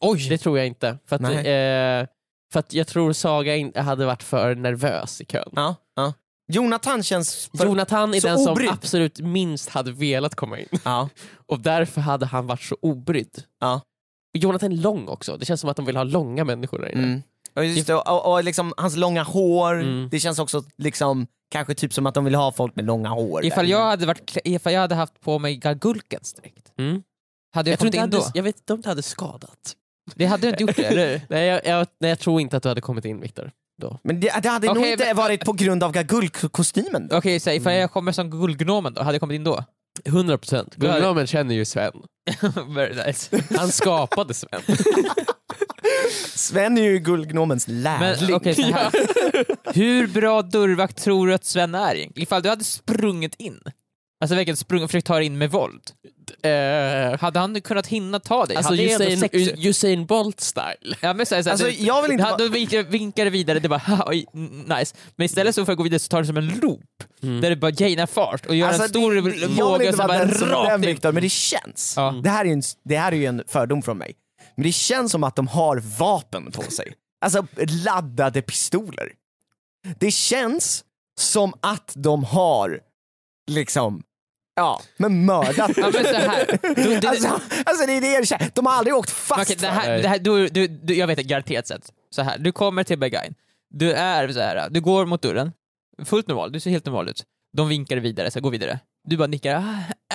[SPEAKER 2] Oj! Det tror jag inte. För att,
[SPEAKER 3] Nej.
[SPEAKER 2] eh, för att jag tror Saga in, hade varit för nervös i kön.
[SPEAKER 3] Ja, ja. Jonathan känns... För...
[SPEAKER 2] Jonathan är
[SPEAKER 3] så
[SPEAKER 2] den som
[SPEAKER 3] obrydd.
[SPEAKER 2] absolut minst hade velat komma in.
[SPEAKER 3] Ja.
[SPEAKER 2] Och därför hade han varit så obrydd.
[SPEAKER 3] Ja.
[SPEAKER 2] Och Jonathan är lång också. Det känns som att de vill ha långa människor där inne.
[SPEAKER 3] Mm. Och, just, det, och, och liksom hans långa hår,
[SPEAKER 2] Mm.
[SPEAKER 3] det känns också liksom, kanske typ som att de vill ha folk med långa hår.
[SPEAKER 4] Ifall
[SPEAKER 3] där.
[SPEAKER 4] jag hade, varit, klä- ifall jag hade haft på mig Gagulkens dräkt,
[SPEAKER 2] Mm.
[SPEAKER 4] hade jag,
[SPEAKER 2] Jag, tror
[SPEAKER 4] kommit
[SPEAKER 2] inte
[SPEAKER 4] in då?
[SPEAKER 2] hade, jag vet inte om det hade skadat.
[SPEAKER 4] Det hade du inte gjort det, eller?
[SPEAKER 2] Nej jag, jag, nej, jag tror inte att du hade kommit in Viktor.
[SPEAKER 3] Men det, det hade nog
[SPEAKER 4] Okej,
[SPEAKER 3] inte
[SPEAKER 4] men-
[SPEAKER 3] varit på grund av Gagul-kostymen. då.
[SPEAKER 4] Okej, så ifall jag kommer som Guldgnomen då, hade jag kommit in då?
[SPEAKER 2] 100 procent. Guldgnomen känner ju Sven.
[SPEAKER 4] Very nice.
[SPEAKER 2] Han skapade Sven.
[SPEAKER 3] Sven är ju Guldgnomens
[SPEAKER 4] Men
[SPEAKER 3] lärling.
[SPEAKER 4] okej, så här. [LAUGHS] Hur bra dörrvakt tror du att Sven är egentligen? Ifall du hade sprungit in, alltså verkligen sprungit och försökt ta dig in med våld,
[SPEAKER 2] Eh,
[SPEAKER 4] hade han kunnat hinna ta dig?
[SPEAKER 2] alltså
[SPEAKER 4] hade det ändå
[SPEAKER 2] Usain,
[SPEAKER 4] sex-
[SPEAKER 2] Usain Bolt-style.
[SPEAKER 4] Ja, men så här, så här,
[SPEAKER 3] Alltså,
[SPEAKER 4] du-
[SPEAKER 3] jag vill inte
[SPEAKER 4] han,
[SPEAKER 3] vara-
[SPEAKER 4] då vinkar, vinkar det vidare, det bara [LAUGHS] "Ha, oj, n- nice. Men istället så för att gå vidare så tar det som en loop, där det bara gainar fart och gör en stor
[SPEAKER 3] det- det- jag vill
[SPEAKER 4] våga
[SPEAKER 3] inte
[SPEAKER 4] som
[SPEAKER 3] vara
[SPEAKER 4] bara
[SPEAKER 3] den som är den
[SPEAKER 4] rakt in.
[SPEAKER 3] Viktor, men det känns.
[SPEAKER 4] Ja.
[SPEAKER 3] Det, här är ju en, det här är ju en fördom från mig. Men det känns som att de har vapen på sig. Alltså laddade pistoler. Det känns som att de har, liksom, ja, men mördat.
[SPEAKER 4] Ja, men så
[SPEAKER 3] [LAUGHS]
[SPEAKER 4] här. Du, du,
[SPEAKER 3] Alltså, alltså det är det jag känner. De har aldrig åkt fast
[SPEAKER 4] Okej,
[SPEAKER 3] för
[SPEAKER 4] det här,
[SPEAKER 2] Nej.
[SPEAKER 4] det här, du, du, du, jag vet det garanterat sett. Så här, du kommer till Berghain, Du är så här, du går mot dörren, fullt normal, du ser helt normal ut. De vinkar vidare, så här, gå vidare. Du bara nickar, ah,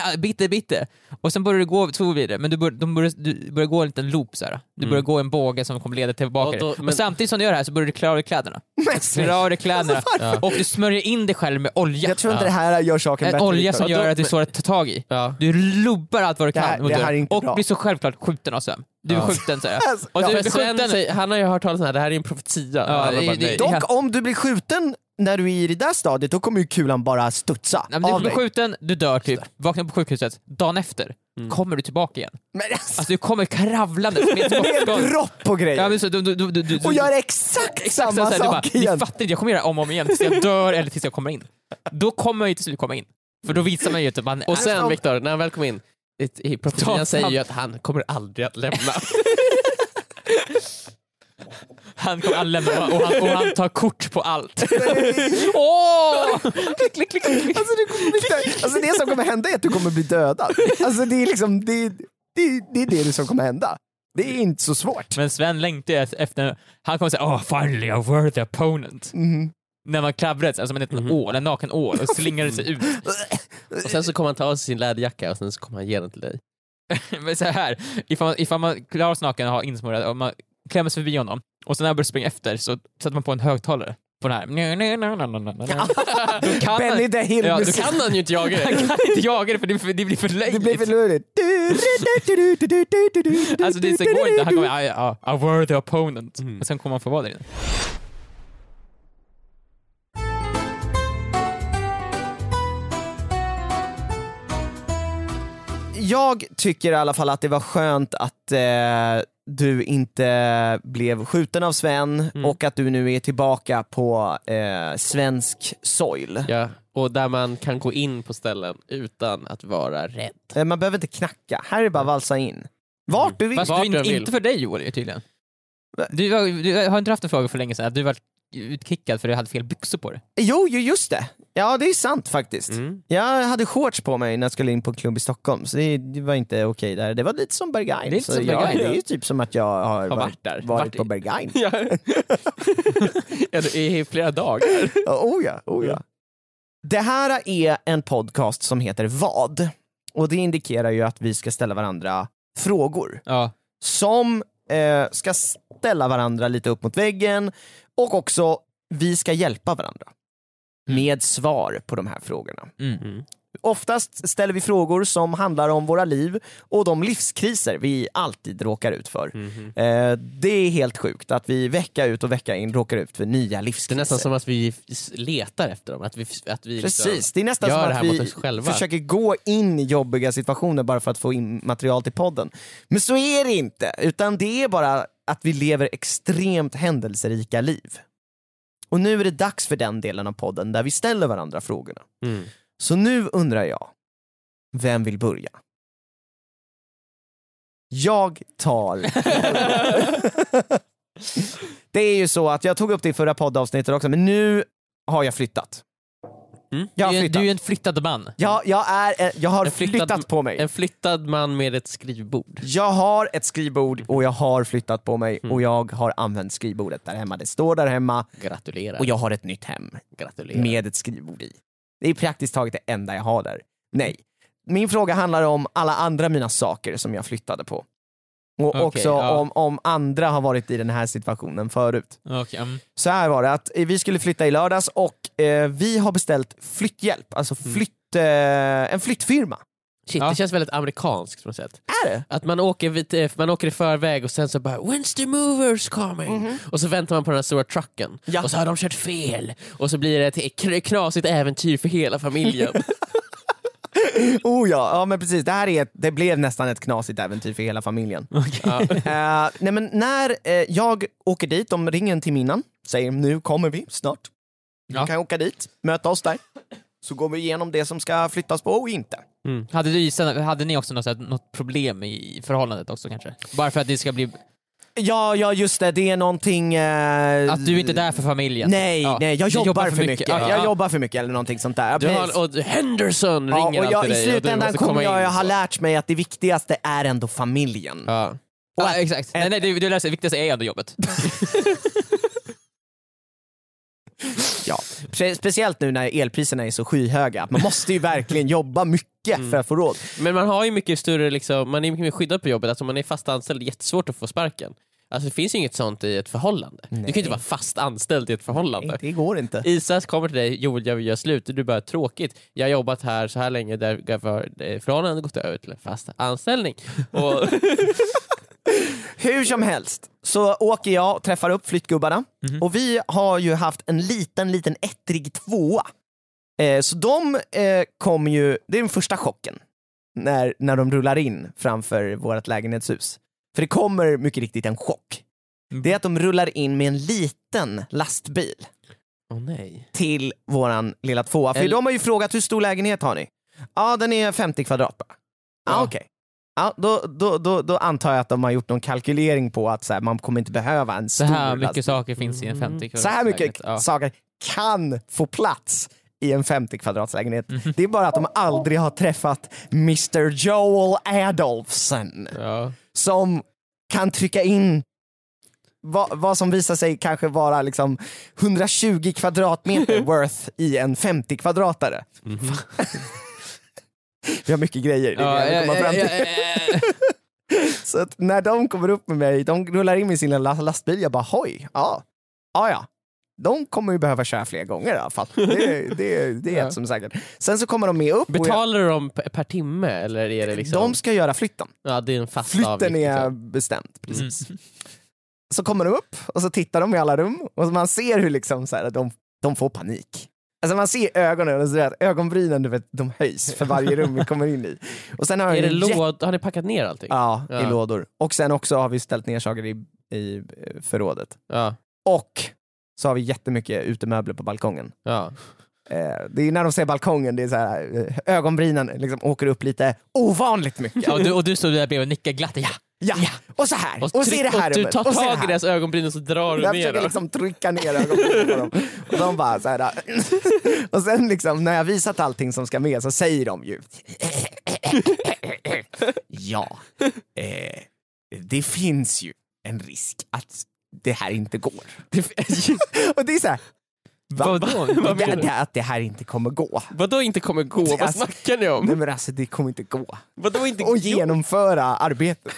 [SPEAKER 4] ah, bitte, bitte. Och sen börjar du gå två vidare, men du börjar, de börjar, du börjar gå en liten loop så här. Du
[SPEAKER 2] Mm.
[SPEAKER 4] börjar gå en båge som kommer leda tillbaka
[SPEAKER 2] Ja,
[SPEAKER 4] dig.
[SPEAKER 2] då- men-
[SPEAKER 4] Och samtidigt som du gör det här så börjar du klä av dig kläderna.
[SPEAKER 3] Men,
[SPEAKER 4] Klä av dig kläderna.
[SPEAKER 3] Alltså, varför?
[SPEAKER 4] och du smörjer in dig själv med olja.
[SPEAKER 3] jag tror inte det här gör saken
[SPEAKER 4] en
[SPEAKER 3] bättre.
[SPEAKER 4] olja
[SPEAKER 3] Viktor.
[SPEAKER 4] som gör att det är
[SPEAKER 2] men-
[SPEAKER 4] svårt att ta tag i.
[SPEAKER 2] Ja.
[SPEAKER 4] Du lubbar allt vad du
[SPEAKER 3] Det
[SPEAKER 4] kan
[SPEAKER 3] här-
[SPEAKER 4] mot
[SPEAKER 3] det här är
[SPEAKER 4] dörren.
[SPEAKER 3] inte
[SPEAKER 4] och
[SPEAKER 3] bra.
[SPEAKER 4] blir så självklart skjuten av sömn. Du är
[SPEAKER 2] Ja.
[SPEAKER 4] skjuten såhär.
[SPEAKER 3] Alltså,
[SPEAKER 4] Och
[SPEAKER 3] ja.
[SPEAKER 4] du
[SPEAKER 2] Ja,
[SPEAKER 4] blir
[SPEAKER 2] för Sven,
[SPEAKER 4] skjuten.
[SPEAKER 2] säger- han har ju hört talas om det här, det här är en profetia.
[SPEAKER 4] Ja,
[SPEAKER 2] Alla
[SPEAKER 4] det-
[SPEAKER 2] bara,
[SPEAKER 4] det-
[SPEAKER 2] nej.
[SPEAKER 4] det-
[SPEAKER 3] Dock om du blir skjuten när du är i det där stadiet, då kommer ju kulan bara studsa
[SPEAKER 4] Nej, men du
[SPEAKER 3] av
[SPEAKER 4] blir
[SPEAKER 3] dig.
[SPEAKER 4] skjuten, du dör typ, vaknar på sjukhuset, dagen efter
[SPEAKER 3] Mm.
[SPEAKER 4] kommer du tillbaka igen.
[SPEAKER 3] Men alltså,
[SPEAKER 4] Alltså du kommer kravlandes
[SPEAKER 3] [LAUGHS]
[SPEAKER 4] med ett
[SPEAKER 3] det är
[SPEAKER 4] skottskott.
[SPEAKER 3] dropp på grejer.
[SPEAKER 4] Ja, men så, du, du, du, du, du,
[SPEAKER 3] och gör exakt,
[SPEAKER 4] så
[SPEAKER 3] samma
[SPEAKER 4] här, du bara,
[SPEAKER 3] sak igen.
[SPEAKER 4] Ni fattar inte, jag kommer göra om och om igen tills
[SPEAKER 3] [LAUGHS]
[SPEAKER 4] jag dör eller tills jag kommer in. Då kommer jag ju till slut komma in. För då visar man ju typ att man
[SPEAKER 2] Och sen
[SPEAKER 3] Alltså, om-
[SPEAKER 2] Viktor, när han väl kom in, det- i profetian
[SPEAKER 4] Ta
[SPEAKER 2] säger
[SPEAKER 4] fram-
[SPEAKER 2] ju att han kommer aldrig att lämna.
[SPEAKER 4] [LAUGHS] han kommer aldrig lämna och han, och han tar kort
[SPEAKER 3] [LAUGHS]
[SPEAKER 4] på allt. Åh! Klick, klick, klick,
[SPEAKER 3] [LAUGHS]
[SPEAKER 4] klick.
[SPEAKER 3] Alltså, du kommer bli död. alltså det som kommer hända är att du kommer bli dödad. Alltså det är liksom, det, det, det är det som kommer hända. Det är inte så svårt.
[SPEAKER 4] Men Sven längtar ju efter, han kommer säga oh finally a worthy opponent.
[SPEAKER 3] Mhm.
[SPEAKER 4] När man klavrar sig, alltså man är en ål, en naken ål och slingar sig [LAUGHS] ut.
[SPEAKER 2] och sen så kommer han ta av sig sin läderjacka och sen så kommer han ge den till dig.
[SPEAKER 4] Men så här, ifall man, ifall man klarar sig naken och har insmorad och man klämmer sig förbi honom och sen när han börjar springa efter så sätter man på en högtalare på den här. [LAUGHS] Då kan
[SPEAKER 3] Benny
[SPEAKER 4] han,
[SPEAKER 3] the Hill
[SPEAKER 4] Ja, du
[SPEAKER 3] musik.
[SPEAKER 2] Kan han ju inte jaga
[SPEAKER 4] han
[SPEAKER 2] dig?
[SPEAKER 4] kan inte jaga det för det, för [LAUGHS] det blir för
[SPEAKER 3] Det blir
[SPEAKER 4] löjligt.
[SPEAKER 3] för lurigt. Du, du, du, du, du, du, du, du, du,
[SPEAKER 4] Alltså det så går inte, han kommer "Ah, ja, a worthy opponent.
[SPEAKER 2] Mm.
[SPEAKER 4] Och sen kommer han få vara där inne.
[SPEAKER 3] Jag tycker i alla fall att det var skönt att eh, du inte blev skjuten av Sven
[SPEAKER 4] Mm.
[SPEAKER 3] och att du nu är tillbaka på eh, svensk soil.
[SPEAKER 2] Ja, och där man kan gå in på ställen utan att vara rädd.
[SPEAKER 3] Eh, Man behöver inte knacka, här är det bara att valsa in. Vart du vill.
[SPEAKER 4] Fast
[SPEAKER 2] Vart
[SPEAKER 4] Mm. du,
[SPEAKER 2] jag vill.
[SPEAKER 4] inte för dig Joel ju tydligen.
[SPEAKER 3] Va?
[SPEAKER 4] Du, var- du har inte haft en fråga för länge sedan, att du var utkickad för att du hade fel byxor på dig.
[SPEAKER 3] Jo, ju just det. Ja, det är sant faktiskt.
[SPEAKER 4] Mm.
[SPEAKER 3] Jag hade shorts på mig när jag skulle in på en klubb i Stockholm, så det, det var inte okej där. Det var lite som Berghain.
[SPEAKER 4] Det är lite
[SPEAKER 3] så
[SPEAKER 4] som
[SPEAKER 3] jag-
[SPEAKER 4] Berghain,
[SPEAKER 3] det är
[SPEAKER 4] ja.
[SPEAKER 3] ju typ som att jag har, varit,
[SPEAKER 4] varit där.
[SPEAKER 3] varit
[SPEAKER 4] Varit i-
[SPEAKER 3] på Berghain.
[SPEAKER 2] Ja. ja, det är i flera dagar.
[SPEAKER 3] Ja, Oh ja, oh
[SPEAKER 2] Mm.
[SPEAKER 3] ja. Det här är en podcast som heter Vad? Och det indikerar ju att vi ska ställa varandra frågor.
[SPEAKER 4] Ja.
[SPEAKER 3] Som eh, ska ställa varandra lite upp mot väggen och också vi ska hjälpa varandra.
[SPEAKER 2] Mm.
[SPEAKER 3] Med svar på de här frågorna.
[SPEAKER 4] Mm.
[SPEAKER 3] Oftast ställer vi frågor som handlar om våra liv och de livskriser vi alltid råkar ut för.
[SPEAKER 2] Mm.
[SPEAKER 3] Eh, det är helt sjukt att vi vecka ut och vecka in råkar ut för nya
[SPEAKER 2] Det
[SPEAKER 3] livskriser.
[SPEAKER 2] är nästan som att vi f- letar efter dem. Att vi, f- att vi liksom-
[SPEAKER 3] Precis, det är nästan
[SPEAKER 2] gör
[SPEAKER 3] som
[SPEAKER 2] det
[SPEAKER 3] att
[SPEAKER 2] här mot
[SPEAKER 3] vi
[SPEAKER 2] oss själva.
[SPEAKER 3] försöker gå in i jobbiga situationer bara för att få in material till podden. Men så är det inte, utan det är bara att vi lever extremt händelserika liv. Och nu är det dags för den delen av podden där vi ställer varandra frågorna.
[SPEAKER 2] Mm.
[SPEAKER 3] Så nu undrar jag, vem vill börja? Jag
[SPEAKER 2] [LAUGHS]
[SPEAKER 3] tar... [LAUGHS] det är ju så att jag tog upp det i förra poddavsnittet också, men nu har jag flyttat.
[SPEAKER 2] Mm.
[SPEAKER 3] Jag har
[SPEAKER 4] Du, är-
[SPEAKER 3] flyttat.
[SPEAKER 4] du är en flyttad man.
[SPEAKER 3] Jag, jag, är, eh, jag har
[SPEAKER 2] En flyttad-
[SPEAKER 3] flyttat på mig.
[SPEAKER 2] En flyttad man med ett skrivbord.
[SPEAKER 3] Jag har ett skrivbord och jag har flyttat på mig och jag har använt skrivbordet där hemma. Det står där hemma
[SPEAKER 2] Gratulerar.
[SPEAKER 3] och jag har ett nytt hem
[SPEAKER 2] Gratulerar.
[SPEAKER 3] med ett skrivbord i. Det är praktiskt taget det enda jag har där. Nej. Min fråga handlar om alla andra mina saker som jag flyttade på. Och
[SPEAKER 4] Okej,
[SPEAKER 3] också
[SPEAKER 4] ja.
[SPEAKER 3] om, om andra har varit i den här situationen förut.
[SPEAKER 4] Okej, mm.
[SPEAKER 3] Så här var det, att eh, vi skulle flytta i lördags och eh, vi har beställt flytthjälp, alltså flytt, eh, en flyttfirma.
[SPEAKER 2] Shit,
[SPEAKER 4] Ja.
[SPEAKER 2] det känns väldigt amerikanskt på något sätt.
[SPEAKER 3] Är det?
[SPEAKER 2] Att man åker, vid, eh, man åker i förväg och sen så bara “When's the movers coming?”
[SPEAKER 3] Mhm.
[SPEAKER 2] och så väntar man på den här stora trucken
[SPEAKER 3] Ja.
[SPEAKER 2] och så har de kört fel och så blir det ett kn- knasigt äventyr för hela
[SPEAKER 3] [LAUGHS]
[SPEAKER 2] familjen.
[SPEAKER 3] Oh ja, ja men precis. Det här är ett, det blev nästan ett knasigt äventyr för hela familjen.
[SPEAKER 2] ja.
[SPEAKER 3] Eh, nej men när eh, jag åker dit, de ringer en timme innan, säger nu kommer vi snart. Du
[SPEAKER 4] Ja.
[SPEAKER 3] kan åka dit, möta oss där. Så går vi igenom det som ska flyttas på och inte.
[SPEAKER 2] Mm.
[SPEAKER 4] hade, du, sen- hade ni också något, så här- något problem i förhållandet också kanske? Bara för att det ska bli...
[SPEAKER 3] Ja, ja just det, det är någonting... eh,
[SPEAKER 4] Att du inte är där för familjen?
[SPEAKER 3] Nej,
[SPEAKER 4] Ja.
[SPEAKER 3] nej, jag
[SPEAKER 4] Du
[SPEAKER 3] jobbar, för mycket.
[SPEAKER 4] Ja,
[SPEAKER 3] Jag
[SPEAKER 4] ja.
[SPEAKER 3] jobbar för mycket eller någonting sånt där.
[SPEAKER 2] Du
[SPEAKER 3] Precis.
[SPEAKER 2] har, och Henderson
[SPEAKER 3] ja,
[SPEAKER 2] ringer
[SPEAKER 3] och jag,
[SPEAKER 2] alltid
[SPEAKER 3] I
[SPEAKER 2] dig och du
[SPEAKER 3] slutändan
[SPEAKER 2] måste
[SPEAKER 3] kommer
[SPEAKER 2] komma
[SPEAKER 3] jag,
[SPEAKER 2] in
[SPEAKER 3] jag har
[SPEAKER 2] så.
[SPEAKER 3] lärt mig att det viktigaste är ändå familjen.
[SPEAKER 2] Ja.
[SPEAKER 4] Ja, exakt. Nej, nej, det, det viktigaste är ändå jobbet.
[SPEAKER 3] Ja. Spe- Speciellt nu när elpriserna är så skyhöga, att man måste ju verkligen jobba mycket för att få råd.
[SPEAKER 2] Men man har ju mycket större, liksom, man är mycket mer skyddad på jobbet. Alltså om man är fast anställd, det är jättesvårt att få sparken. Alltså det finns ju inget sånt i ett förhållande. Du kan ju inte vara fast anställd i ett förhållande.
[SPEAKER 3] Det går inte.
[SPEAKER 2] Isas kommer till dig, Joel jag vill göra slut, du bara tråkigt, jag har jobbat här så här länge därför eh, förhållandet har gått över till en fast
[SPEAKER 3] [LAUGHS]
[SPEAKER 2] anställning. Och,
[SPEAKER 3] Hur som helst så åker jag och träffar upp flyttgubbarna och vi har ju haft en liten, liten ettrig tvåa. Eh, så de eh, kommer ju, det är den första chocken när, när de rullar in framför vårt lägenhetshus. För det kommer mycket riktigt en chock.
[SPEAKER 4] Mm.
[SPEAKER 3] Det är att de rullar in med en liten lastbil
[SPEAKER 2] Åh nej.
[SPEAKER 3] till våran lilla tvåa. För
[SPEAKER 2] Eller-
[SPEAKER 3] de har ju frågat hur stor lägenhet har ni? Ja den är 50 kvadrat bara. Ja
[SPEAKER 2] Ja.
[SPEAKER 3] okej. Ja, då, då, då, då antar jag att de har gjort någon kalkylering på att så här, man kommer inte behöva en
[SPEAKER 4] Så
[SPEAKER 3] stor
[SPEAKER 4] här
[SPEAKER 3] lastbil. Mm.
[SPEAKER 4] mycket saker finns i en 50
[SPEAKER 3] så här mycket
[SPEAKER 4] Ja.
[SPEAKER 3] saker kan få plats i en 50 kvadratslägenhet.
[SPEAKER 4] Mhm.
[SPEAKER 3] Det är bara att de aldrig har träffat Mr Joel Adolphson
[SPEAKER 2] Ja.
[SPEAKER 3] som kan trycka in vad, vad som visar sig kanske vara liksom 120
[SPEAKER 2] [LAUGHS]
[SPEAKER 3] kvadratmeter worth i en 50 kvadratare.
[SPEAKER 2] Mhm.
[SPEAKER 3] [LAUGHS] Vi har mycket grejer, det är det jag vill komma fram till. [LAUGHS] Så att när de kommer upp med mig, de rullar in med sin lilla lastbil, jag bara hoj, ja, ja, ja. De kommer ju behöva köra fler gånger i alla fall. Det, det,
[SPEAKER 2] [LAUGHS]
[SPEAKER 3] det är
[SPEAKER 2] Ja.
[SPEAKER 3] ett som säkert. Sen så kommer de med upp och jag,
[SPEAKER 2] Betalar du dem per per timme eller är det liksom...
[SPEAKER 3] de ska göra flytten.
[SPEAKER 2] Ja, det är en fast
[SPEAKER 3] Flytten
[SPEAKER 2] avgift,
[SPEAKER 3] är
[SPEAKER 2] liksom.
[SPEAKER 3] bestämd. Precis.
[SPEAKER 2] Mm.
[SPEAKER 3] Så kommer de upp och så tittar de i alla rum och man ser hur liksom så här, de, de får panik. Alltså man ser ögonen, och så där, ögonbrynen du vet, de höjs för varje rum vi kommer in i. Och sen har vi
[SPEAKER 2] Är det
[SPEAKER 3] en jätte-
[SPEAKER 2] låd... Har ni packat ner allting?
[SPEAKER 3] Ja, i
[SPEAKER 2] Ja.
[SPEAKER 3] lådor. Och sen också har vi ställt ner saker i, i eh, förrådet.
[SPEAKER 2] Ja.
[SPEAKER 3] Och så har vi jättemycket utemöbler på balkongen.
[SPEAKER 2] ja.
[SPEAKER 3] Eh, det är när de ser balkongen, det är så här, eh, ögonbrynen liksom åker upp lite ovanligt mycket.
[SPEAKER 4] Ja, och, du, och du stod där bredvid och nickade glatt. Ja.
[SPEAKER 3] Ja, och så här, och, så är
[SPEAKER 2] tryck-
[SPEAKER 3] det här
[SPEAKER 2] Du
[SPEAKER 3] rummet,
[SPEAKER 2] tar
[SPEAKER 3] och så är det
[SPEAKER 2] tag i
[SPEAKER 3] här.
[SPEAKER 2] deras ögonbryn och så drar du
[SPEAKER 3] Jag
[SPEAKER 2] ner
[SPEAKER 3] försöker
[SPEAKER 2] dem.
[SPEAKER 3] liksom trycka ner ögonbrynen på dem. Och de bara så här. Och sen liksom när jag visat allting som ska med så säger de ju. Ja, eh, det finns ju en risk att det här inte går.
[SPEAKER 2] [LAUGHS]
[SPEAKER 3] Och det är så här. va-
[SPEAKER 4] Vadå?
[SPEAKER 3] va-
[SPEAKER 4] [LAUGHS] Vad menar
[SPEAKER 3] det,
[SPEAKER 4] du?
[SPEAKER 3] det, att det här inte kommer gå.
[SPEAKER 2] Vadå inte kommer gå? Vad
[SPEAKER 3] Alltså-
[SPEAKER 2] snackar ni
[SPEAKER 4] Mm.
[SPEAKER 2] om?
[SPEAKER 3] Nej men alltså det kommer inte gå.
[SPEAKER 2] Vadå inte
[SPEAKER 3] Och
[SPEAKER 2] gå?
[SPEAKER 3] genomföra arbetet.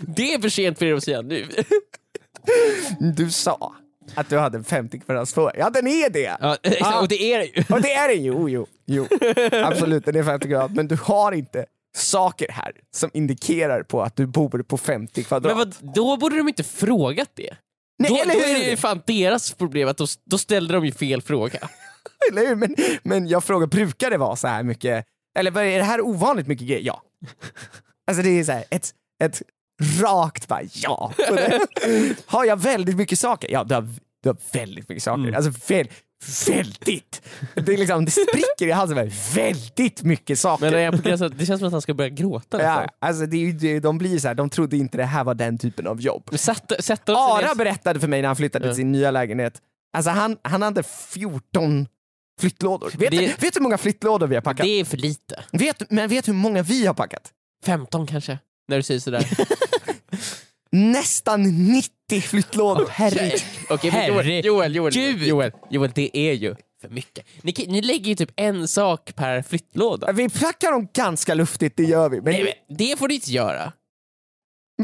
[SPEAKER 2] Det är för sent för er att säga nu. [LAUGHS]
[SPEAKER 3] Du sa att du hade en 50 kvadrats tvåa. Ja den är det!
[SPEAKER 4] Ja, exakt,
[SPEAKER 3] Ja.
[SPEAKER 4] Och det är det ju.
[SPEAKER 3] Och det är det ju, jo, jo, jo. Absolut, den är 50 kvadrat. Men du har inte saker här som indikerar på att du bor på 50
[SPEAKER 2] Men
[SPEAKER 3] kvadrat.
[SPEAKER 2] vad, då borde de inte frågat det.
[SPEAKER 3] Nej,
[SPEAKER 2] då,
[SPEAKER 3] eller
[SPEAKER 2] då är det
[SPEAKER 3] hur?
[SPEAKER 2] ju fan deras problem att då, då ställde de ju fel fråga.
[SPEAKER 3] Eller hur? Men, men jag frågar, brukar det vara så här mycket? Eller vad är det här ovanligt mycket grejer? Ja. Alltså det är så här, ett, ett rakt bara ja.
[SPEAKER 2] [LAUGHS]
[SPEAKER 3] på det. Har jag väldigt mycket saker? Ja, du har, du har väldigt mycket
[SPEAKER 2] Mm.
[SPEAKER 3] saker. Alltså väl, väldigt. Det, är liksom, det spricker i halsen. bara, Väldigt mycket saker.
[SPEAKER 2] Men det, är på gränsen, det känns som att han ska börja gråta nästan.
[SPEAKER 3] Ja, alltså det är ju, det- de blir så här, de trodde inte det här var den typen av jobb.
[SPEAKER 2] Sätt, sätt dem
[SPEAKER 3] Ara
[SPEAKER 2] ner-
[SPEAKER 3] berättade för mig när han flyttade till sin nya lägenhet, alltså han, han hade 14 flyttlådor. Vet, du,
[SPEAKER 2] Det-
[SPEAKER 3] vet du hur många flyttlådor vi har packat?
[SPEAKER 2] det är för lite.
[SPEAKER 3] Vet, men vet du hur många vi har packat?
[SPEAKER 2] 15 kanske, när du säger sådär.
[SPEAKER 4] [LAUGHS]
[SPEAKER 3] Nästan 90 flyttlådor.
[SPEAKER 2] Herregud. Okej, men Joel,
[SPEAKER 4] Herregud.
[SPEAKER 2] Joel, Joel, Joel, Joel, Joel, det är ju för mycket. Ni, kan- ni lägger ju typ en sak per flyttlåda.
[SPEAKER 3] Vi packar dem ganska luftigt, det gör vi. Men
[SPEAKER 2] Nej, men det får du inte göra.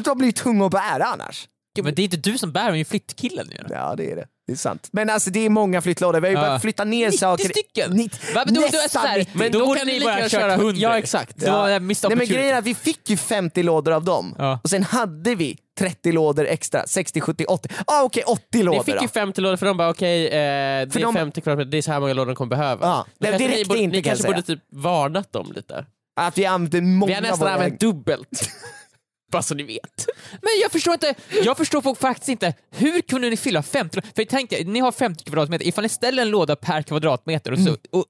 [SPEAKER 3] de blir ju tunga att bära annars.
[SPEAKER 4] Men det är inte du som bär, det är ju flyttkillen ju.
[SPEAKER 3] Ja det är det. Det är sant. Men alltså det är många flyttlådor, vi har ju
[SPEAKER 4] Ja.
[SPEAKER 3] börjat flytta ner
[SPEAKER 4] 90
[SPEAKER 3] saker.
[SPEAKER 4] stycken?
[SPEAKER 3] Nitt-
[SPEAKER 4] Va, men då, då, är
[SPEAKER 3] nästan
[SPEAKER 4] sådär,
[SPEAKER 3] 90.
[SPEAKER 4] men då,
[SPEAKER 2] Då
[SPEAKER 4] kan
[SPEAKER 2] kan
[SPEAKER 4] ni
[SPEAKER 2] ni
[SPEAKER 4] bara
[SPEAKER 2] lika
[SPEAKER 4] köra
[SPEAKER 2] gärna kört
[SPEAKER 4] 100.
[SPEAKER 2] Ja, exakt.
[SPEAKER 4] Det var en missed
[SPEAKER 3] Nej men
[SPEAKER 4] opportunity.
[SPEAKER 3] grejen är att vi fick ju 50 lådor av dem
[SPEAKER 4] Ja.
[SPEAKER 3] och sen hade vi 30 lådor extra, 60, 70, 80. Ah, okej 80 lådor
[SPEAKER 2] Ni fick
[SPEAKER 3] då.
[SPEAKER 2] ju 50 lådor för de bara okej, eh, det
[SPEAKER 3] För
[SPEAKER 2] är
[SPEAKER 3] de-
[SPEAKER 2] 50 kvadratmeter, det är så här många lådor de kommer behöva.
[SPEAKER 3] Ja,
[SPEAKER 2] Då
[SPEAKER 3] det-
[SPEAKER 2] kanske
[SPEAKER 3] det
[SPEAKER 2] ni
[SPEAKER 3] räckte
[SPEAKER 2] borde,
[SPEAKER 3] inte,
[SPEAKER 2] Ni
[SPEAKER 3] kan jag
[SPEAKER 2] kanske borde
[SPEAKER 3] säga.
[SPEAKER 2] typ varnat dem lite.
[SPEAKER 3] Att vi använde många
[SPEAKER 2] Vi har nästan
[SPEAKER 3] våra-
[SPEAKER 2] använt
[SPEAKER 3] [LAUGHS]
[SPEAKER 2] dubbelt. Bara så ni vet.
[SPEAKER 4] Men jag förstår inte, jag förstår folk faktiskt inte, hur kunde ni fylla 50? För tänk er, ni har 50 kvadratmeter, ifall ni ställer en låda per kvadratmeter och så... Och,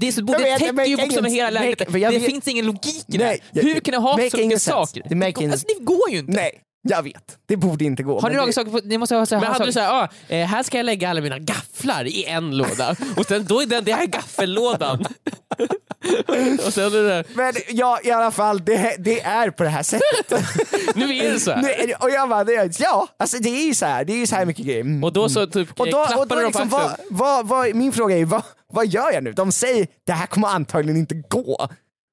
[SPEAKER 4] det är så,
[SPEAKER 3] Mm. Jag vet,
[SPEAKER 4] det täcker
[SPEAKER 3] make
[SPEAKER 4] ju bokstavligen
[SPEAKER 3] ingen-
[SPEAKER 4] hela
[SPEAKER 3] make-
[SPEAKER 4] lägenheten,
[SPEAKER 3] för jag
[SPEAKER 4] det
[SPEAKER 3] vet-
[SPEAKER 4] finns ingen logik i
[SPEAKER 3] Nej,
[SPEAKER 4] det.
[SPEAKER 3] jag-
[SPEAKER 4] Hur kan ni ha
[SPEAKER 3] make
[SPEAKER 4] så
[SPEAKER 3] ingen
[SPEAKER 4] mycket
[SPEAKER 3] sense.
[SPEAKER 4] saker?
[SPEAKER 3] Det make ingen-
[SPEAKER 4] alltså, det går ju inte.
[SPEAKER 3] Nej, Jag vet, det borde inte gå.
[SPEAKER 4] Har ni
[SPEAKER 3] men
[SPEAKER 4] dragit
[SPEAKER 3] det...
[SPEAKER 4] saker på... Ni måste ha så här,
[SPEAKER 2] Men
[SPEAKER 4] ha
[SPEAKER 2] hade du
[SPEAKER 4] saker.
[SPEAKER 2] såhär, ah, eh, här ska jag lägga alla mina gafflar i en låda och sen då är den, det här är gaffellådan. och sen är det där,
[SPEAKER 3] Men ja, i alla fall, det, det är på det
[SPEAKER 2] [LAUGHS]
[SPEAKER 3] här sättet.
[SPEAKER 2] nu är det så här.
[SPEAKER 3] Nu är det- och jag bara, det- ja, alltså det är ju så här, det är ju så här mycket grejer. Mm.
[SPEAKER 2] Och då så typ
[SPEAKER 3] Och
[SPEAKER 2] eh,
[SPEAKER 3] då,
[SPEAKER 2] klappade
[SPEAKER 3] och då
[SPEAKER 2] de
[SPEAKER 3] liksom,
[SPEAKER 2] på
[SPEAKER 3] vad,
[SPEAKER 2] axeln.
[SPEAKER 3] vad, vad, min fråga är vad, vad gör jag nu? De säger det här kommer antagligen inte gå.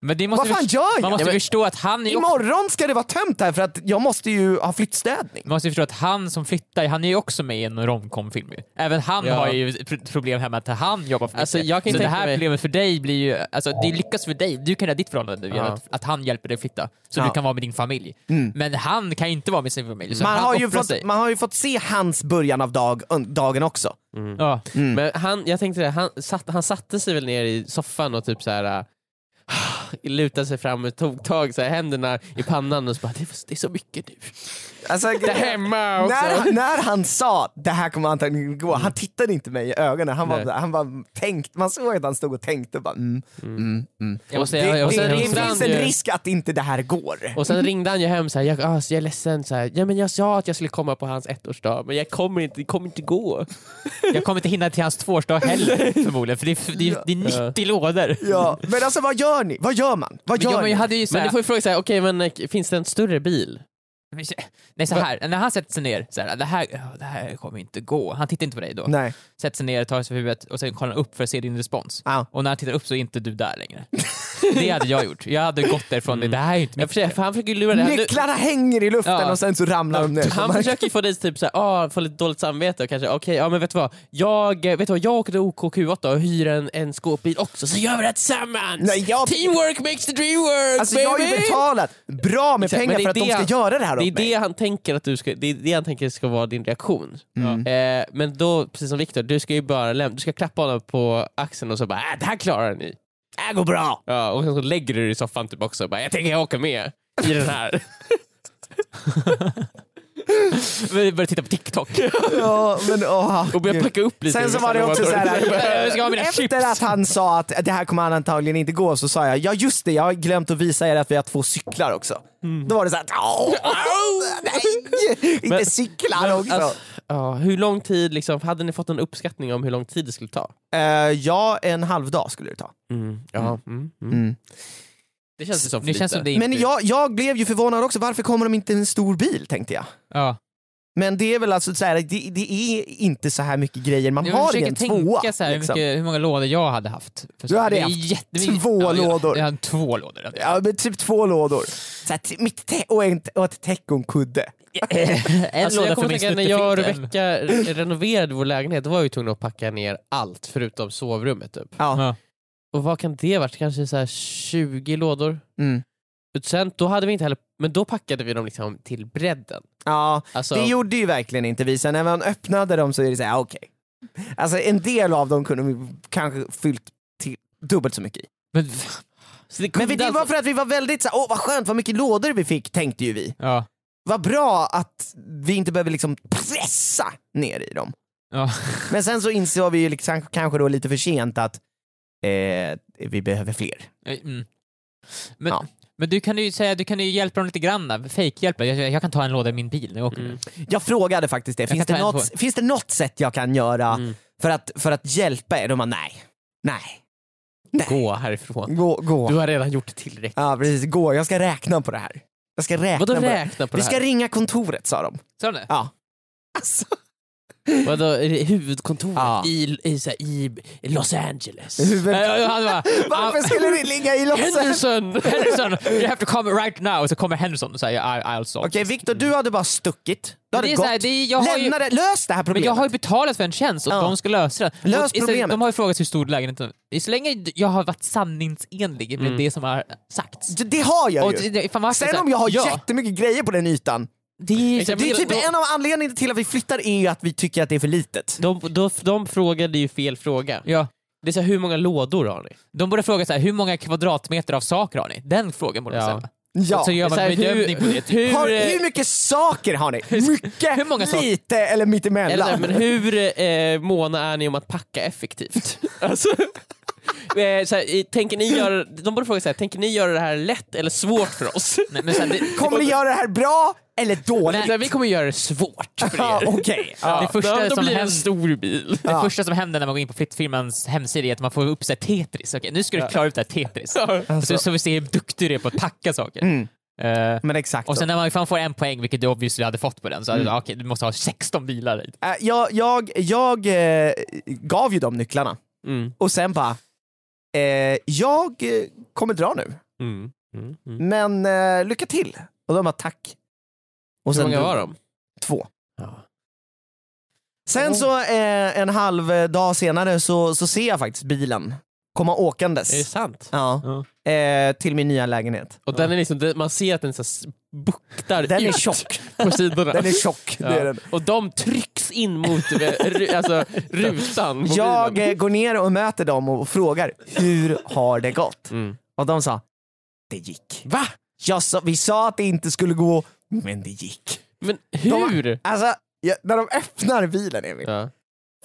[SPEAKER 4] Men det måste
[SPEAKER 3] Vad fan
[SPEAKER 4] först-
[SPEAKER 3] gör jag?
[SPEAKER 4] Man måste
[SPEAKER 3] Ja, men-
[SPEAKER 4] förstå att han är ju också,
[SPEAKER 3] Imorgon ska det vara tömt här för att jag måste ju ha flyttstädning.
[SPEAKER 4] man måste förstå att han som flyttar, han är ju också med i en romcom-film ju. Även han
[SPEAKER 2] Ja.
[SPEAKER 4] har ju pr- problem här med att han jobbar för mycket.
[SPEAKER 2] Alltså, jag kan ju
[SPEAKER 4] så det
[SPEAKER 2] tänka
[SPEAKER 4] här
[SPEAKER 2] mig-
[SPEAKER 4] problemet för dig blir ju, alltså det lyckas för dig, du kan rädda ditt förhållande nu
[SPEAKER 2] Ja. Mm.
[SPEAKER 4] genom att, att han hjälper dig flytta. Så
[SPEAKER 3] Ja.
[SPEAKER 4] du kan vara med din familj. Men han kan ju inte vara med sin familj. Så
[SPEAKER 3] Man
[SPEAKER 4] han
[SPEAKER 3] har, ju
[SPEAKER 4] offrar
[SPEAKER 3] fått,
[SPEAKER 4] sig.
[SPEAKER 3] man har ju fått se hans början av dag, dagen också.
[SPEAKER 2] Mm.
[SPEAKER 4] Ja.
[SPEAKER 2] Men han, jag tänkte det, han, satt, han satte sig väl ner i soffan och typ så här ah, lutade sig fram och tog tag så här, händerna i pannan och så bara, det är, det är så mycket nu.
[SPEAKER 3] Alltså,
[SPEAKER 2] Där hemma också.
[SPEAKER 3] när, han- när han sa det här kommer antagligen gå,
[SPEAKER 4] Mm.
[SPEAKER 3] han tittade inte mig i ögonen. Han var,
[SPEAKER 2] Nej.
[SPEAKER 3] bara- han var tänkt, man såg att han stod och tänkte. Bara, mm, mm, mm.
[SPEAKER 4] Jag måste
[SPEAKER 3] Det,
[SPEAKER 4] säga, jag
[SPEAKER 3] det,
[SPEAKER 4] måste
[SPEAKER 3] det,
[SPEAKER 4] säga-
[SPEAKER 3] finns en risk att inte det här går.
[SPEAKER 2] Och sen ringde han ju hem så här, jag, ah, så jag är ledsen, så här, ja, men jag sa att jag skulle komma på hans ettårsdag men jag kommer inte, det kommer inte gå.
[SPEAKER 4] Jag kommer inte hinna till hans
[SPEAKER 2] [LAUGHS]
[SPEAKER 4] tvåårsdag heller förmodligen, för det är, det är, det är 90 lådor.
[SPEAKER 3] Ja, men alltså vad gör ni? Vad gör man? Vad
[SPEAKER 4] Men
[SPEAKER 3] gör
[SPEAKER 4] jag, men
[SPEAKER 3] ni?
[SPEAKER 4] jag hade ju så
[SPEAKER 2] Men
[SPEAKER 4] här,
[SPEAKER 2] du får ju fråga så här, okej men eh, finns det en större bil?
[SPEAKER 4] Nej så här, när han sätter sig ner, så här, det, här, ja, det här kommer inte gå. Han tittar inte på dig då.
[SPEAKER 3] Nej.
[SPEAKER 4] Sätter sig ner, tar sig för huvudet och sen kollar han upp för att se din respons.
[SPEAKER 3] Ja.
[SPEAKER 4] Och när han tittar upp så är inte du där längre. [LAUGHS] det hade jag gjort. Jag hade gått därifrån,
[SPEAKER 2] Mm.
[SPEAKER 4] det här är ju inte
[SPEAKER 2] Jag
[SPEAKER 4] mitt
[SPEAKER 2] försöker, för han försöker ju lura dig. Han-
[SPEAKER 3] Nycklarna hänger i luften
[SPEAKER 4] Ja.
[SPEAKER 3] och sen så ramlar de ner. [LAUGHS]
[SPEAKER 2] Han försöker ju få dig att typ såhär, ah, få lite dåligt samvete och kanske, okej, ja men vet du vad? Jag, eh, vet du vad, jag åker till OKQ8 och hyr en, en skåpbil också så gör vi det här tillsammans!
[SPEAKER 3] Nej, jag-
[SPEAKER 2] Teamwork makes the dream work
[SPEAKER 3] Alltså
[SPEAKER 2] baby!
[SPEAKER 3] jag har ju betalat bra med
[SPEAKER 2] Exakt, men
[SPEAKER 3] pengar
[SPEAKER 2] det är
[SPEAKER 3] för att de
[SPEAKER 2] det
[SPEAKER 3] ska
[SPEAKER 2] han-
[SPEAKER 3] göra det här
[SPEAKER 2] Det är
[SPEAKER 3] åt mig.
[SPEAKER 2] det han tänker att du ska, det är det han tänker ska vara din reaktion.
[SPEAKER 3] Mm.
[SPEAKER 2] Eh, men då, precis som Viktor, du ska ju bara lämna, du ska klappa honom på axeln och så bara äh, det här klarar ni.
[SPEAKER 3] Det här går bra!
[SPEAKER 2] Ja, och sen så lägger du dig i soffan typ också och bara jag tänker jag åker med i den
[SPEAKER 3] [LAUGHS]
[SPEAKER 2] här.
[SPEAKER 4] Vi började titta på [LAUGHS] TikTok.
[SPEAKER 3] Ja, men åh. [LAUGHS]
[SPEAKER 2] Och börjar
[SPEAKER 3] gud.
[SPEAKER 2] packa upp lite. "Äh,
[SPEAKER 3] Sen så var det
[SPEAKER 2] [LAUGHS]
[SPEAKER 3] också så
[SPEAKER 4] [LAUGHS]
[SPEAKER 3] [LAUGHS]
[SPEAKER 4] Jag ska ha mina
[SPEAKER 3] här.
[SPEAKER 4] chips.
[SPEAKER 3] efter att han sa att det här kommer antagligen inte gå så sa jag, ja just det, jag har glömt att visa er att vi har två cyklar också. Då var det såhär,
[SPEAKER 2] [LAUGHS]
[SPEAKER 3] nej, inte
[SPEAKER 2] Mm. Men-
[SPEAKER 3] cyklar
[SPEAKER 2] Men,
[SPEAKER 3] också.
[SPEAKER 2] alltså, ja, hur lång tid, liksom, hade ni fått en uppskattning om hur lång tid det skulle ta?
[SPEAKER 3] Eh, ja, en halv dag skulle det ta.
[SPEAKER 2] Ja. Mm. Mm.
[SPEAKER 3] Mm.
[SPEAKER 2] Det känns ju Alltså, som för
[SPEAKER 4] Det känns
[SPEAKER 2] lite.
[SPEAKER 4] som det inte...
[SPEAKER 3] Men jag, jag blev ju förvånad också, varför kommer de inte i en stor bil tänkte jag?
[SPEAKER 4] Ja.
[SPEAKER 3] Men det är väl alltså så här, det, det är inte så här mycket grejer man
[SPEAKER 4] Jag
[SPEAKER 3] har i
[SPEAKER 4] försöker
[SPEAKER 3] en
[SPEAKER 4] tänka
[SPEAKER 3] tvåa.
[SPEAKER 4] så här, hur,
[SPEAKER 3] liksom.
[SPEAKER 4] mycket, hur många lådor jag hade haft. För-
[SPEAKER 3] Du hade
[SPEAKER 4] det är
[SPEAKER 3] haft
[SPEAKER 4] jättemycket-
[SPEAKER 3] två
[SPEAKER 4] ja, jag-
[SPEAKER 3] lådor.
[SPEAKER 4] Jag hade två lådor.
[SPEAKER 3] Ja, men typ två lådor. Så här, t- mitt te- och, en, och ett täcke och [LAUGHS] en kudde.
[SPEAKER 4] en
[SPEAKER 2] Alltså, jag kommer tänka när jag och
[SPEAKER 4] snuttefilm.
[SPEAKER 2] Rebecka re- renoverade vår lägenhet, då var vi tvungna att packa ner allt förutom sovrummet. Typ.
[SPEAKER 3] Ja.
[SPEAKER 2] Och vad kan det ha varit? Kanske så här 20 lådor?
[SPEAKER 3] Mm.
[SPEAKER 2] Och Sen, då hade vi inte heller, men då packade vi dem liksom till bredden.
[SPEAKER 3] ja
[SPEAKER 2] Alltså,
[SPEAKER 3] det gjorde ju verkligen inte vi. Sen när man öppnade dem så är det så här, okej. Alltså en del av dem kunde vi kanske fyllt till dubbelt så mycket i.
[SPEAKER 4] Men,
[SPEAKER 2] så det
[SPEAKER 3] Men
[SPEAKER 2] kunde
[SPEAKER 3] vi- det var
[SPEAKER 2] alltså-
[SPEAKER 3] för att vi var väldigt så här, åh vad skönt vad mycket lådor vi fick tänkte ju vi.
[SPEAKER 4] ja.
[SPEAKER 3] Vad bra att vi inte behöver liksom pressa ner i dem.
[SPEAKER 4] Ja.
[SPEAKER 3] Men sen så insåg vi ju liksom, kanske då lite för sent att eh, vi behöver fler.
[SPEAKER 4] Mm. Men,
[SPEAKER 3] Ja.
[SPEAKER 4] men du kan ju säga, du kan ju hjälpa dem lite grann, där, fejkhjälpa. Jag, jag kan ta en låda i min bil när jag
[SPEAKER 2] Mm.
[SPEAKER 4] åker nu.
[SPEAKER 3] Jag frågade faktiskt det, finns
[SPEAKER 4] kan
[SPEAKER 3] det,
[SPEAKER 4] ta en
[SPEAKER 3] något, finns det något sätt jag kan göra
[SPEAKER 2] Mm.
[SPEAKER 3] för, att, för att hjälpa er? De bara nej. Nej. Nej.
[SPEAKER 2] Gå härifrån.
[SPEAKER 3] Gå, gå.
[SPEAKER 2] Du har redan gjort tillräckligt.
[SPEAKER 3] Ja precis, gå. Jag ska räkna på det här. Jag ska räkna
[SPEAKER 2] Vadå
[SPEAKER 3] på det.
[SPEAKER 2] räkna på
[SPEAKER 3] Vi
[SPEAKER 2] det
[SPEAKER 3] ska
[SPEAKER 2] här?
[SPEAKER 3] ringa kontoret sa
[SPEAKER 4] [LAUGHS]
[SPEAKER 3] de.
[SPEAKER 4] Sa de det?
[SPEAKER 3] Ja. Alltså,
[SPEAKER 2] Vadå, är det huvudkontoret
[SPEAKER 3] Ja.
[SPEAKER 2] i, i, så här, i Los Angeles?
[SPEAKER 3] huvud...
[SPEAKER 4] Ja, ja, han bara,
[SPEAKER 3] Varför
[SPEAKER 4] äh,
[SPEAKER 3] skulle det ligga i Los Angeles?
[SPEAKER 2] Henderson!
[SPEAKER 4] Henderson, you have to come right now. Och så kommer Henderson och säger I, I'll solve.
[SPEAKER 3] Okej Viktor, du hade bara stuckit. Du
[SPEAKER 4] Men
[SPEAKER 3] hade
[SPEAKER 4] det är
[SPEAKER 3] gått.
[SPEAKER 4] så här, det är, jag har ju,
[SPEAKER 3] Lämna det, lös det här
[SPEAKER 4] men
[SPEAKER 3] problemet.
[SPEAKER 4] jag har ju betalat för en tjänst och
[SPEAKER 3] Ja.
[SPEAKER 4] de ska lösa den.
[SPEAKER 3] Lös
[SPEAKER 4] Och istället-
[SPEAKER 3] problemet.
[SPEAKER 4] De har ju frågat hur stor lägenheten är. Så länge jag har varit sanningsenlig med det som har sagts.
[SPEAKER 3] Det- Det har jag
[SPEAKER 4] Och
[SPEAKER 3] Mm. ju.
[SPEAKER 4] det- fan, varför
[SPEAKER 3] Sen
[SPEAKER 4] så här-
[SPEAKER 3] om jag har
[SPEAKER 4] ja,
[SPEAKER 3] jättemycket grejer på den ytan.
[SPEAKER 4] det är,
[SPEAKER 2] Exakt,
[SPEAKER 3] Det är
[SPEAKER 2] Men
[SPEAKER 3] typ
[SPEAKER 2] då-
[SPEAKER 3] en av anledningarna till att vi flyttar är ju att vi tycker att det är för litet.
[SPEAKER 2] De, de, de frågade ju fel fråga.
[SPEAKER 4] ja.
[SPEAKER 2] Det är så här, hur många lådor har ni?
[SPEAKER 4] De borde fråga så här, hur många kvadratmeter av saker har ni? Den frågan borde de
[SPEAKER 2] Ja.
[SPEAKER 4] ställa.
[SPEAKER 3] Ja.
[SPEAKER 4] Så gör
[SPEAKER 2] Det är
[SPEAKER 4] man
[SPEAKER 2] så här,
[SPEAKER 4] en bedömning
[SPEAKER 2] hur-
[SPEAKER 4] på det. typ.
[SPEAKER 2] hur-
[SPEAKER 3] Har,
[SPEAKER 2] eh,
[SPEAKER 3] hur mycket saker har ni? Mycket,
[SPEAKER 4] hur många saker?
[SPEAKER 3] lite eller
[SPEAKER 2] Eller, så [LAUGHS]
[SPEAKER 3] mittemellan?
[SPEAKER 2] här, men hur eh, måna är ni om att packa effektivt? alltså, eh, så här, i- tänker ni göra, de borde fråga så här, tänker ni göra det här lätt eller svårt för [LAUGHS] oss?
[SPEAKER 4] Nej,
[SPEAKER 3] [LAUGHS]
[SPEAKER 4] men sen, det,
[SPEAKER 3] Kommer ni göra det här bra eller
[SPEAKER 2] Nej.
[SPEAKER 3] dåligt?
[SPEAKER 2] Så här, vi kommer göra det svårt för
[SPEAKER 3] Ja,
[SPEAKER 2] er.
[SPEAKER 3] Okej.
[SPEAKER 2] Ja,
[SPEAKER 4] Det första
[SPEAKER 2] då, då
[SPEAKER 4] som
[SPEAKER 2] blir det en
[SPEAKER 4] händer-
[SPEAKER 2] stor [LAUGHS] bil.
[SPEAKER 4] det första som händer när man går in på Flippfilmens hemsida är att man får upp så här Tetris. Okej, nu ska du klara ut det här Tetris.
[SPEAKER 3] alltså.
[SPEAKER 4] Så, så vi ser hur duktig du är på att tacka saker. Eh,
[SPEAKER 3] Mm, Men exakt.
[SPEAKER 4] och
[SPEAKER 3] så.
[SPEAKER 4] sen när man fan får en poäng, vilket du obviously hade fått på den, så mm. okej, du måste ha 16 bilar. i.
[SPEAKER 3] Äh, jag jag, jag eh, gav ju dem nycklarna
[SPEAKER 2] Mm.
[SPEAKER 3] och sen bara, eh, jag eh, kommer dra nu,
[SPEAKER 2] Mm. Mm. Mm.
[SPEAKER 3] men eh, lycka till. Och de bara tack. Och
[SPEAKER 2] Hur
[SPEAKER 3] sen
[SPEAKER 2] många
[SPEAKER 3] dog-
[SPEAKER 2] var de?
[SPEAKER 3] Två.
[SPEAKER 2] Ja.
[SPEAKER 3] Sen så eh, en halv eh, dag senare så, så ser jag faktiskt bilen komma åkandes.
[SPEAKER 2] Är det sant?
[SPEAKER 3] Ja. Eh, till min nya lägenhet.
[SPEAKER 2] Och den är liksom, det- man ser att den så här s- buktar
[SPEAKER 3] Den är
[SPEAKER 2] ut
[SPEAKER 3] tjock.
[SPEAKER 2] på sidorna.
[SPEAKER 3] Den är tjock.
[SPEAKER 2] Ja.
[SPEAKER 3] Det är den.
[SPEAKER 2] Och de trycks in mot eh, ru- alltså, rutan på
[SPEAKER 3] Jag
[SPEAKER 2] bilen.
[SPEAKER 3] eh, går ner och möter dem och frågar hur har det gått?
[SPEAKER 2] Mm.
[SPEAKER 3] Och de sa, det gick.
[SPEAKER 2] Va?
[SPEAKER 3] Jag sa, vi sa att det inte skulle gå, men det gick.
[SPEAKER 2] Men
[SPEAKER 3] De-
[SPEAKER 2] hur?
[SPEAKER 3] Alltså, jag, när de öppnar bilen Emil,
[SPEAKER 2] Ja.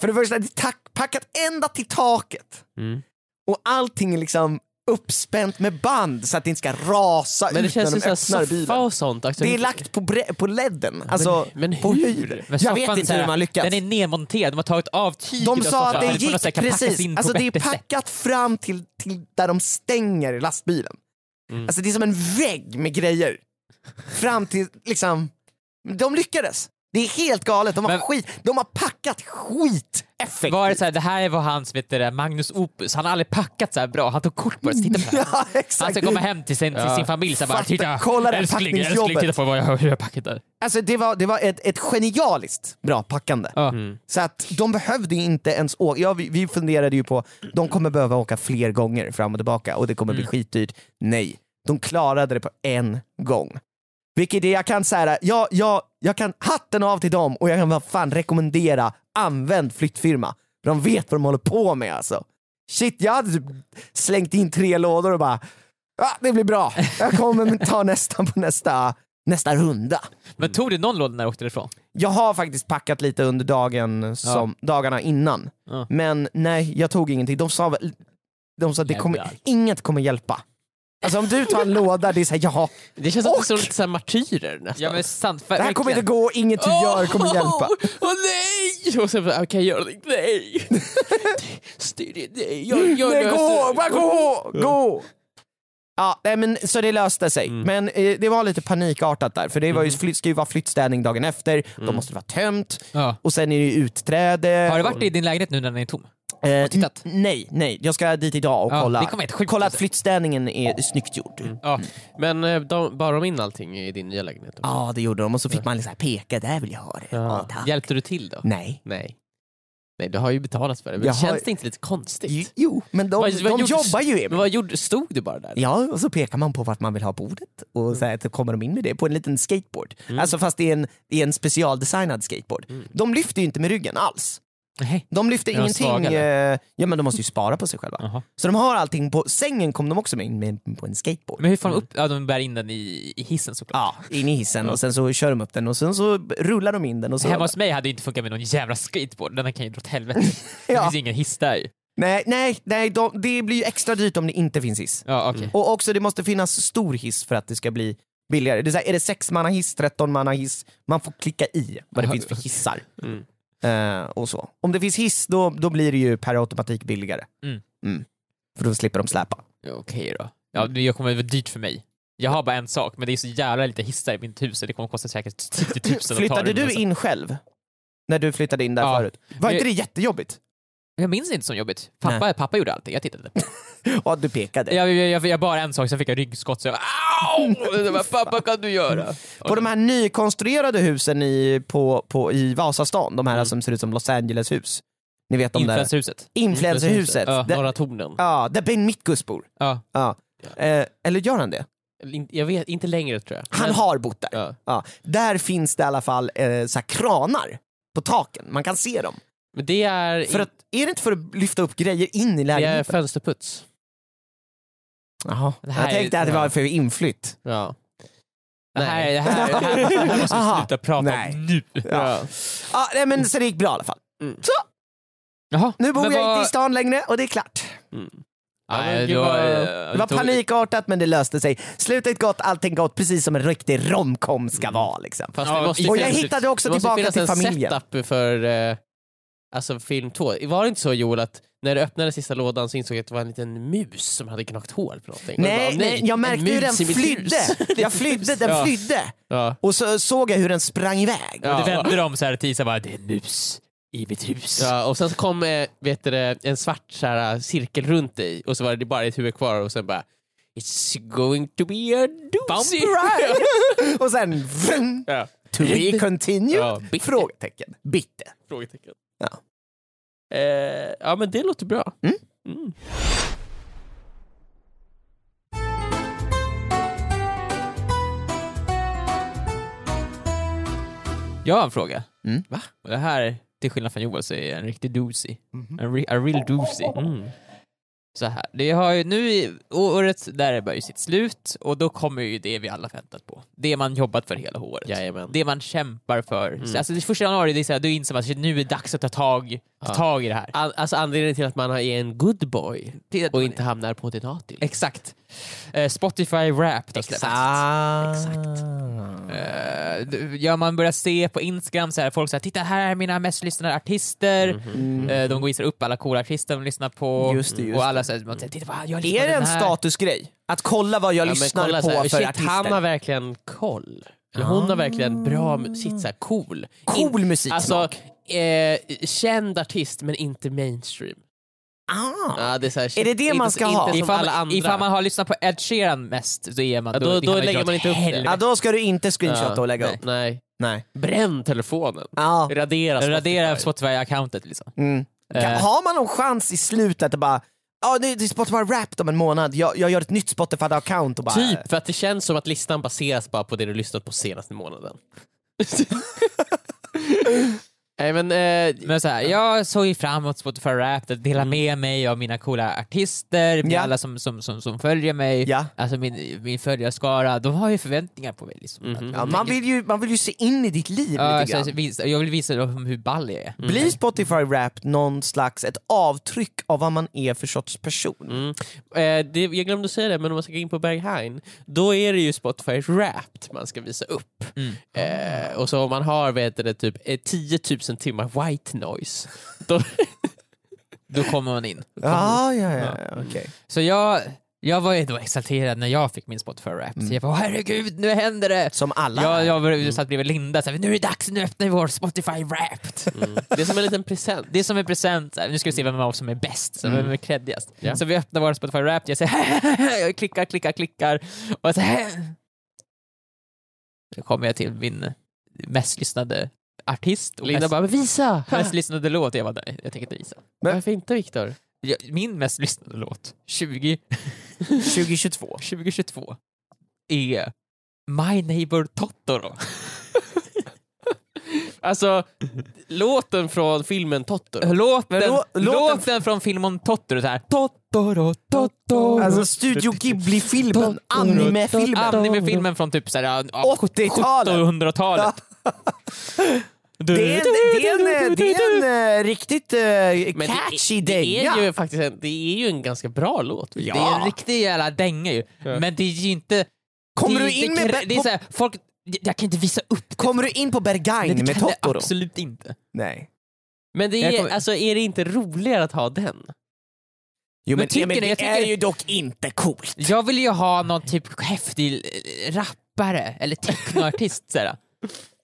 [SPEAKER 3] för det första det är tack, packat ända till taket
[SPEAKER 2] Mm.
[SPEAKER 3] och allting är liksom uppspänt med band så att det inte ska rasa
[SPEAKER 2] Men det
[SPEAKER 3] ut när
[SPEAKER 2] känns ju
[SPEAKER 3] de
[SPEAKER 2] såhär
[SPEAKER 3] öppnar
[SPEAKER 2] soffa
[SPEAKER 3] bilen.
[SPEAKER 2] och sånt. Alltså,
[SPEAKER 3] Det är lagt på, bre- på ledden, alltså
[SPEAKER 2] men
[SPEAKER 3] på
[SPEAKER 2] hur?
[SPEAKER 3] hur?
[SPEAKER 4] Men
[SPEAKER 3] Jag
[SPEAKER 4] soffan
[SPEAKER 3] vet
[SPEAKER 4] är så
[SPEAKER 3] inte
[SPEAKER 4] här,
[SPEAKER 3] hur man lyckats.
[SPEAKER 4] Den är nedmonterad, de har tagit av tyget av
[SPEAKER 3] De sa
[SPEAKER 4] soffan,
[SPEAKER 3] att
[SPEAKER 4] men
[SPEAKER 3] det
[SPEAKER 4] på något sätt
[SPEAKER 3] gick
[SPEAKER 4] kan packas
[SPEAKER 3] precis,
[SPEAKER 4] in på
[SPEAKER 3] alltså det är
[SPEAKER 4] bättre sätt.
[SPEAKER 3] packat fram till, till där de stänger lastbilen.
[SPEAKER 4] Mm.
[SPEAKER 3] Alltså det är som en vägg med grejer. Fram till liksom, de lyckades. Det är helt galet, de har,
[SPEAKER 4] Men-
[SPEAKER 3] skit, de har packat skit effektivt.
[SPEAKER 4] Var det, så här, det här var hans vet du, det, Magnus Opus, han har aldrig packat så här bra, han tog kort på det, så titta på det. här.
[SPEAKER 3] [LAUGHS] Ja,
[SPEAKER 4] [LAUGHS] Han
[SPEAKER 3] exakt.
[SPEAKER 4] ska komma hem till sin, till sin familj så här, bara
[SPEAKER 3] Fatta,
[SPEAKER 4] titta,
[SPEAKER 3] kolla det här
[SPEAKER 4] älskling, älskling,
[SPEAKER 3] packningsjobbet."
[SPEAKER 4] titta på vad jag, hur jag packade.
[SPEAKER 3] Alltså det var, det var ett, ett genialiskt bra packande.
[SPEAKER 4] Ja.
[SPEAKER 2] Mm.
[SPEAKER 3] Så att de behövde ju inte ens åka, ja, vi, vi funderade ju på, de kommer behöva åka fler gånger fram och tillbaka och det kommer bli skitdyrt. Nej, de klarade det på en gång. Vilket är, jag kan säga, jag, jag, jag kan hatten av till dem och jag kan vad fan rekommendera, använd flyttfirma. De vet vad de håller på med alltså. Shit, jag hade typ slängt in tre lådor och bara, ah, det blir bra. Jag kommer ta nästa på nästa, nästa runda.
[SPEAKER 4] Men tog du någon låda när du åkte därifrån?
[SPEAKER 3] Jag har faktiskt packat lite under dagen som, dagarna innan.
[SPEAKER 4] Ja.
[SPEAKER 3] Men nej, jag tog ingenting. De sa, väl- de sa att det kommer,
[SPEAKER 4] Jävlar.
[SPEAKER 3] inget kommer hjälpa. Alltså om du tar en låda, det är såhär jaha,
[SPEAKER 2] Det känns som att det
[SPEAKER 3] Och-
[SPEAKER 2] är lite såhär martyrer nästan.
[SPEAKER 4] Ja men sant,
[SPEAKER 3] det här kommer inte gå, inget du gör kommer hjälpa.
[SPEAKER 2] Åh nej! Och sen bara, kan jag göra det?
[SPEAKER 3] [LAUGHS]
[SPEAKER 2] Nej! Styr det, nej. Jag, [LAUGHS] jag
[SPEAKER 3] Nej,
[SPEAKER 2] löser
[SPEAKER 3] gå,
[SPEAKER 2] det.
[SPEAKER 3] bara gå, gå! Ja, nej, men, så det löste sig.
[SPEAKER 2] Mm.
[SPEAKER 3] Men eh, det var lite panikartat där, för det var ju, flytt, ska ju vara flyttstädning dagen efter,
[SPEAKER 2] Mm.
[SPEAKER 3] då måste det vara tömt,
[SPEAKER 4] Ja.
[SPEAKER 3] och sen är det ju utträde.
[SPEAKER 4] Har du varit i din lägenhet nu när den är tom?
[SPEAKER 3] Eh,
[SPEAKER 4] tittat?
[SPEAKER 3] n- Nej, nej. Jag ska dit idag och
[SPEAKER 4] Ja,
[SPEAKER 3] kolla.
[SPEAKER 4] det kommer inte skjuta
[SPEAKER 3] kolla att
[SPEAKER 4] sig.
[SPEAKER 3] flyttstädningen är snyggt gjord. Ja,
[SPEAKER 4] Ja.
[SPEAKER 2] Men eh, de, bar de in allting i din nya lägenhet? då?
[SPEAKER 3] ah, det gjorde de. Och så fick man liksom peka, där vill jag ha det. Ja, tack.
[SPEAKER 2] Hjälpte du till då?
[SPEAKER 3] Nej.
[SPEAKER 2] Nej. Nej, du har ju betalat för det. Men
[SPEAKER 3] Jag
[SPEAKER 2] känns
[SPEAKER 3] har-
[SPEAKER 2] det inte lite konstigt?
[SPEAKER 3] Jo, men de,
[SPEAKER 2] Vad- vad
[SPEAKER 3] de
[SPEAKER 2] gjorde-
[SPEAKER 3] jobbar ju.
[SPEAKER 2] Men
[SPEAKER 3] Emil.
[SPEAKER 2] vad gjorde, stod du bara där?
[SPEAKER 3] Ja, och så pekar man på vart man vill ha bordet och så, här, så kommer de in med det på en liten skateboard. Alltså fast det är en, det är en specialdesignad skateboard. De lyfter ju inte med ryggen alls.
[SPEAKER 4] Nej.
[SPEAKER 3] De lyfter
[SPEAKER 4] Är de
[SPEAKER 3] ingenting,
[SPEAKER 4] svaga,
[SPEAKER 3] eh, ja men de måste ju spara på sig själva.
[SPEAKER 4] Jaha.
[SPEAKER 3] Så de har allting på, sängen kom de också med, med på en skateboard.
[SPEAKER 4] Men hur får de upp, ja de bär in den i, i hissen såklart.
[SPEAKER 3] Mm. Ja, in i hissen och sen så kör de upp den och sen så rullar de in den och så...
[SPEAKER 4] Hemma hos mig hade det inte funkat med någon jävla skateboard, den här kan ju dra åt helvete.
[SPEAKER 3] [LAUGHS]
[SPEAKER 4] Det
[SPEAKER 3] Ja.
[SPEAKER 4] finns ju ingen hiss där ju.
[SPEAKER 3] Nej, nej, nej de, det blir ju extra dyrt om det inte finns hiss.
[SPEAKER 4] Ja, okej.
[SPEAKER 3] Och också det måste finnas stor hiss för att det ska bli billigare. Det är, så här, är det sexmannahiss, trettonmannahiss, man får klicka i vad det finns för hissar.
[SPEAKER 2] Mm.
[SPEAKER 3] Eh, och så. Om det finns hiss då, då blir det ju per automatik billigare.
[SPEAKER 4] Mm.
[SPEAKER 3] För då slipper de släpa.
[SPEAKER 4] Ja, Okej då. Ja, det jag kommer det vara dyrt för mig. Jag har bara en sak, men det är så jävla lite hissar i mitt hus så det kommer kosta säkert 30 000 att ta
[SPEAKER 3] Flyttade
[SPEAKER 4] det, men
[SPEAKER 3] du
[SPEAKER 4] Typ så-
[SPEAKER 3] in själv? När du flyttade in där
[SPEAKER 4] Ja.
[SPEAKER 3] förut? Var
[SPEAKER 4] Men-
[SPEAKER 3] inte det jättejobbigt?
[SPEAKER 4] Jag minns inte som jobbigt. Pappa, pappa gjorde allting, jag tittade.
[SPEAKER 3] Ja, du pekade.
[SPEAKER 4] Jag, jag, jag, jag bara en sak, sen fick jag ryggskott så jag Au! [LAUGHS] Det var, Pappa kan du göra?
[SPEAKER 3] På de här nykonstruerade husen i, på, på, i Vasastan, de här
[SPEAKER 4] Mm.
[SPEAKER 3] som ser ut som Los Angeles-hus. Ni vet de där...
[SPEAKER 4] Influencerhuset.
[SPEAKER 3] Influencerhuset.
[SPEAKER 2] Ja,
[SPEAKER 3] Där-
[SPEAKER 2] Norra Tornen.
[SPEAKER 3] Ja, där Ben Mitkus bor.
[SPEAKER 4] Ja.
[SPEAKER 3] Ja. Eh, eller gör han det?
[SPEAKER 2] Eller in- Jag vet, inte längre tror jag.
[SPEAKER 3] Han
[SPEAKER 2] Men-
[SPEAKER 3] har bott där.
[SPEAKER 2] Ja.
[SPEAKER 3] Ja. Där finns det i alla fall eh, så här kranar på taken, man kan se dem.
[SPEAKER 2] Men det är,
[SPEAKER 3] För
[SPEAKER 2] in-
[SPEAKER 3] att, är det inte för att lyfta upp grejer in i
[SPEAKER 2] det är
[SPEAKER 3] lägenheten?
[SPEAKER 2] eh, fönsterputs.
[SPEAKER 3] Jaha.
[SPEAKER 4] Det här
[SPEAKER 3] Jag
[SPEAKER 4] är-
[SPEAKER 3] tänkte att det var för inflytt.
[SPEAKER 2] Ja.
[SPEAKER 4] Det här,
[SPEAKER 2] Nej.
[SPEAKER 4] det här, det
[SPEAKER 3] [LAUGHS]
[SPEAKER 4] här, det här måste vi
[SPEAKER 3] Aha.
[SPEAKER 4] sluta prata
[SPEAKER 3] Nej.
[SPEAKER 4] om nu.
[SPEAKER 3] Ja. Ja, nej, men så det gick bra i alla fall.
[SPEAKER 2] Mm.
[SPEAKER 3] Så,
[SPEAKER 4] Jaha.
[SPEAKER 3] nu bor
[SPEAKER 4] Men
[SPEAKER 3] jag
[SPEAKER 4] vad-
[SPEAKER 3] inte i stan längre och det är klart.
[SPEAKER 4] Ja, men
[SPEAKER 2] Nej,
[SPEAKER 4] gud,
[SPEAKER 2] då,
[SPEAKER 4] vad-
[SPEAKER 2] eh,
[SPEAKER 4] det
[SPEAKER 3] Det var
[SPEAKER 4] tog-
[SPEAKER 3] panikartat men det löste sig. Slutet gott, allting gott, precis som en riktig romcom ska vara liksom.
[SPEAKER 2] Mm. Fast
[SPEAKER 4] Ja,
[SPEAKER 2] det måste ju
[SPEAKER 4] och
[SPEAKER 3] jag
[SPEAKER 2] finnas-
[SPEAKER 3] hittade också
[SPEAKER 2] det måste
[SPEAKER 3] tillbaka
[SPEAKER 2] finnas
[SPEAKER 3] till
[SPEAKER 2] en
[SPEAKER 3] familjen.
[SPEAKER 2] setup för eh, alltså film två. Var det inte så Joel att när du öppnade sista lådan så insåg jag att det var en liten mus som hade knackat hål på någonting? Och
[SPEAKER 3] Nej,
[SPEAKER 2] du bara,
[SPEAKER 3] nej,
[SPEAKER 2] en
[SPEAKER 3] jag märkte hur
[SPEAKER 2] mus
[SPEAKER 3] den
[SPEAKER 2] i mitt
[SPEAKER 3] flydde.
[SPEAKER 2] hus. [LAUGHS]
[SPEAKER 3] [LAUGHS] Jag flydde, den
[SPEAKER 2] Ja.
[SPEAKER 3] flydde.
[SPEAKER 2] ja.
[SPEAKER 3] Och så såg jag hur den sprang iväg.
[SPEAKER 2] Ja.
[SPEAKER 4] Och det vände de så här Tisa bara, det är en mus i mitt hus.
[SPEAKER 2] ja, och sen så kom eh, vet du, det, en svart så här, eh, cirkel runt dig och så var det bara ett huvud kvar och sen bara It's going to be a doozy. [LAUGHS]
[SPEAKER 3] Right. Och sen... Vroom,
[SPEAKER 2] Ja.
[SPEAKER 3] to be continued?
[SPEAKER 2] Ja, bitte.
[SPEAKER 3] Frågetecken. Bitte.
[SPEAKER 2] Frågetecken.
[SPEAKER 3] Ja.
[SPEAKER 2] Eh, ja men det låter bra.
[SPEAKER 3] Mm.
[SPEAKER 2] Mm.
[SPEAKER 4] Jag har en fråga.
[SPEAKER 3] Mm.
[SPEAKER 4] Va? Och det här, till skillnad från Joel, så är en riktig doozy.
[SPEAKER 3] Mhm.
[SPEAKER 4] En re, a real doozy.
[SPEAKER 2] Mm.
[SPEAKER 4] Så här. Det har ju, nu i året där börjar ju sitt slut och då kommer ju det vi alla väntat på. Det man jobbat för hela året.
[SPEAKER 2] Jajamän.
[SPEAKER 4] Det man kämpar för.
[SPEAKER 3] Mm.
[SPEAKER 4] Så, alltså, det första januari, det är så här, då inser man att shit, nu är det dags att ta tag, ta
[SPEAKER 2] Ja.
[SPEAKER 4] tag i det här.
[SPEAKER 2] An- alltså anledningen till att man är en good boy
[SPEAKER 4] Till att
[SPEAKER 2] och
[SPEAKER 4] man-
[SPEAKER 2] inte hamnar på din hatil.
[SPEAKER 4] Exakt. Eh, Spotify Wrapped har släppts.
[SPEAKER 3] Exakt. Ah.
[SPEAKER 4] Eh, d- ja, man börjar se på Instagram, så här, folk säger titta här är mina mest lyssnade artister. Eh, de visar upp alla coola artister de lyssnar på.
[SPEAKER 3] Mhm. Just det, just
[SPEAKER 4] och alla säger, man säger titta vad jag
[SPEAKER 3] Är
[SPEAKER 4] lyssnar på
[SPEAKER 3] det
[SPEAKER 4] den
[SPEAKER 3] en
[SPEAKER 4] här.
[SPEAKER 3] statusgrej? Att kolla vad jag
[SPEAKER 2] Ja, men
[SPEAKER 3] lyssnar
[SPEAKER 2] kolla
[SPEAKER 3] på
[SPEAKER 2] så här,
[SPEAKER 3] för
[SPEAKER 2] shit,
[SPEAKER 3] artister? Ah.
[SPEAKER 2] Han har verkligen koll. Eller Hon har verkligen bra, mu- sitt så här, cool.
[SPEAKER 3] Cool musik.
[SPEAKER 2] Alltså, eh, känd artist men inte mainstream.
[SPEAKER 3] ah.
[SPEAKER 2] Ja, det är, så här, shit,
[SPEAKER 3] det det
[SPEAKER 2] inte,
[SPEAKER 3] man
[SPEAKER 2] så-
[SPEAKER 3] ska
[SPEAKER 2] inte
[SPEAKER 3] ha?
[SPEAKER 2] Som
[SPEAKER 4] Ifall,
[SPEAKER 2] Alltså, alla andra.
[SPEAKER 4] ifall man har lyssnat på Ed Sheeran mest, så är man,
[SPEAKER 2] Ja, då-
[SPEAKER 4] det
[SPEAKER 2] då
[SPEAKER 4] kan
[SPEAKER 2] lägger
[SPEAKER 4] dra
[SPEAKER 2] man
[SPEAKER 4] åt
[SPEAKER 2] inte upp det.
[SPEAKER 4] helvete.
[SPEAKER 3] ja, då ska du inte
[SPEAKER 2] Ja,
[SPEAKER 3] screenshotta och lägga upp.
[SPEAKER 2] Nej.
[SPEAKER 3] Nej.
[SPEAKER 2] Bränn telefonen.
[SPEAKER 3] Ja.
[SPEAKER 2] Radera Spotify.
[SPEAKER 4] Radera Spotify-accountet liksom.
[SPEAKER 3] Mm. Kan,
[SPEAKER 4] Eh.
[SPEAKER 3] har man någon chans i slutet att bara Ja, nu det är Spotify Wrapped om en månad, jag, jag gör ett nytt Spotify-account och bara...
[SPEAKER 2] Typ, för att det känns som att listan baseras bara på det du lyssnat på senaste [LAUGHS] månaden. Nej men, eh,
[SPEAKER 4] Men så här, jag såg ju fram emot Spotify Wrapped, att dela med mig av mina coola artister, med
[SPEAKER 3] Ja.
[SPEAKER 4] alla som, som, som, som följer mig,
[SPEAKER 3] Ja.
[SPEAKER 4] alltså min, min följarskara, de har ju förväntningar på mig. Liksom.
[SPEAKER 2] Mhm.
[SPEAKER 3] Ja, man, vill ju, man vill ju se in i ditt liv
[SPEAKER 4] Ja,
[SPEAKER 3] lite
[SPEAKER 4] alltså,
[SPEAKER 3] grann.
[SPEAKER 4] jag visa- jag vill visa dem hur ball jag är.
[SPEAKER 3] Blir Spotify Wrapped någon slags, ett avtryck av vad man är för sorts person?
[SPEAKER 2] Mm. Eh, det, jag glömde säga det, men om man ska gå in på Berghain, då är det ju Spotify Wrapped man ska visa upp.
[SPEAKER 4] Mm.
[SPEAKER 2] Eh, och så om man har vet du, det, typ eh, 10 000 timmar white noise, då,
[SPEAKER 4] Då kommer man in.
[SPEAKER 3] Ja, ja, ja, ja, okej.
[SPEAKER 4] Så jag, jag var ju då exalterad när jag fick min Spotify Wrapped.
[SPEAKER 2] Mm.
[SPEAKER 4] Jag bara, herregud, nu händer det!
[SPEAKER 3] Som alla.
[SPEAKER 4] Jag, jag var- satt bredvid Linda såhär, nu är det dags, nu öppnar vi vår Spotify Wrapped.
[SPEAKER 2] det är som en liten present. Mm.
[SPEAKER 4] Det är som en present, såhär, nu ska vi se vem av oss som är bäst, så vem är creddigast.
[SPEAKER 2] Ja.
[SPEAKER 4] Så vi öppnar vår Spotify Wrapped, jag säger [LAUGHS] jag klickar, klickar, klickar. Och så här, Då kommer jag till min mest lyssnade artist och
[SPEAKER 2] Linda
[SPEAKER 4] mest,
[SPEAKER 2] bara, men visa!
[SPEAKER 4] mest lyssnade låt. Jag bara, nej, jag tänker inte visa.
[SPEAKER 3] Men-
[SPEAKER 2] Varför inte Viktor?
[SPEAKER 4] Jag- Min mest lyssnade låt,
[SPEAKER 2] [LAUGHS]
[SPEAKER 4] 20,
[SPEAKER 3] 2022.
[SPEAKER 4] 2022, är My Neighbor Totoro.
[SPEAKER 2] Alltså, låten från filmen Totoro.
[SPEAKER 4] Låten,
[SPEAKER 3] Men lå-
[SPEAKER 4] låten,
[SPEAKER 3] låten-
[SPEAKER 4] från filmen Totoro, så här. Totoro, Totoro.
[SPEAKER 3] Alltså Studio Ghibli-filmen, animefilmen.
[SPEAKER 4] Animefilmen från typ så här, ja,
[SPEAKER 3] 80-talet.
[SPEAKER 4] 1700-talet.
[SPEAKER 3] Det är en, det är en, det är en eh, riktigt eh,
[SPEAKER 2] Men det-
[SPEAKER 3] catchy
[SPEAKER 2] det,
[SPEAKER 3] dänga.
[SPEAKER 2] är ju faktiskt en, det är ju en ganska bra låt.
[SPEAKER 4] Det är en riktig jävla dänga ju.
[SPEAKER 2] Ja.
[SPEAKER 4] Men det är ju inte...
[SPEAKER 3] Kommer
[SPEAKER 4] det,
[SPEAKER 3] du in
[SPEAKER 4] det,
[SPEAKER 3] med
[SPEAKER 4] det,
[SPEAKER 3] Be-
[SPEAKER 4] det är så här, folk... Jag kan inte visa upp det.
[SPEAKER 3] Kommer du in på
[SPEAKER 4] det
[SPEAKER 3] Berghain med
[SPEAKER 4] kan jag
[SPEAKER 3] Totoro?
[SPEAKER 4] absolut inte.
[SPEAKER 3] Nej.
[SPEAKER 2] Men det
[SPEAKER 4] Jag
[SPEAKER 2] är,
[SPEAKER 4] kommer-
[SPEAKER 2] alltså, är det inte roligare att ha den?
[SPEAKER 3] Jo, men,
[SPEAKER 4] Men tycker
[SPEAKER 3] men
[SPEAKER 4] ni-
[SPEAKER 3] det
[SPEAKER 4] jag tycker-
[SPEAKER 3] är ju dock inte coolt.
[SPEAKER 4] Jag vill ju ha någon typ häftig eh, rappare eller technoartist. så här.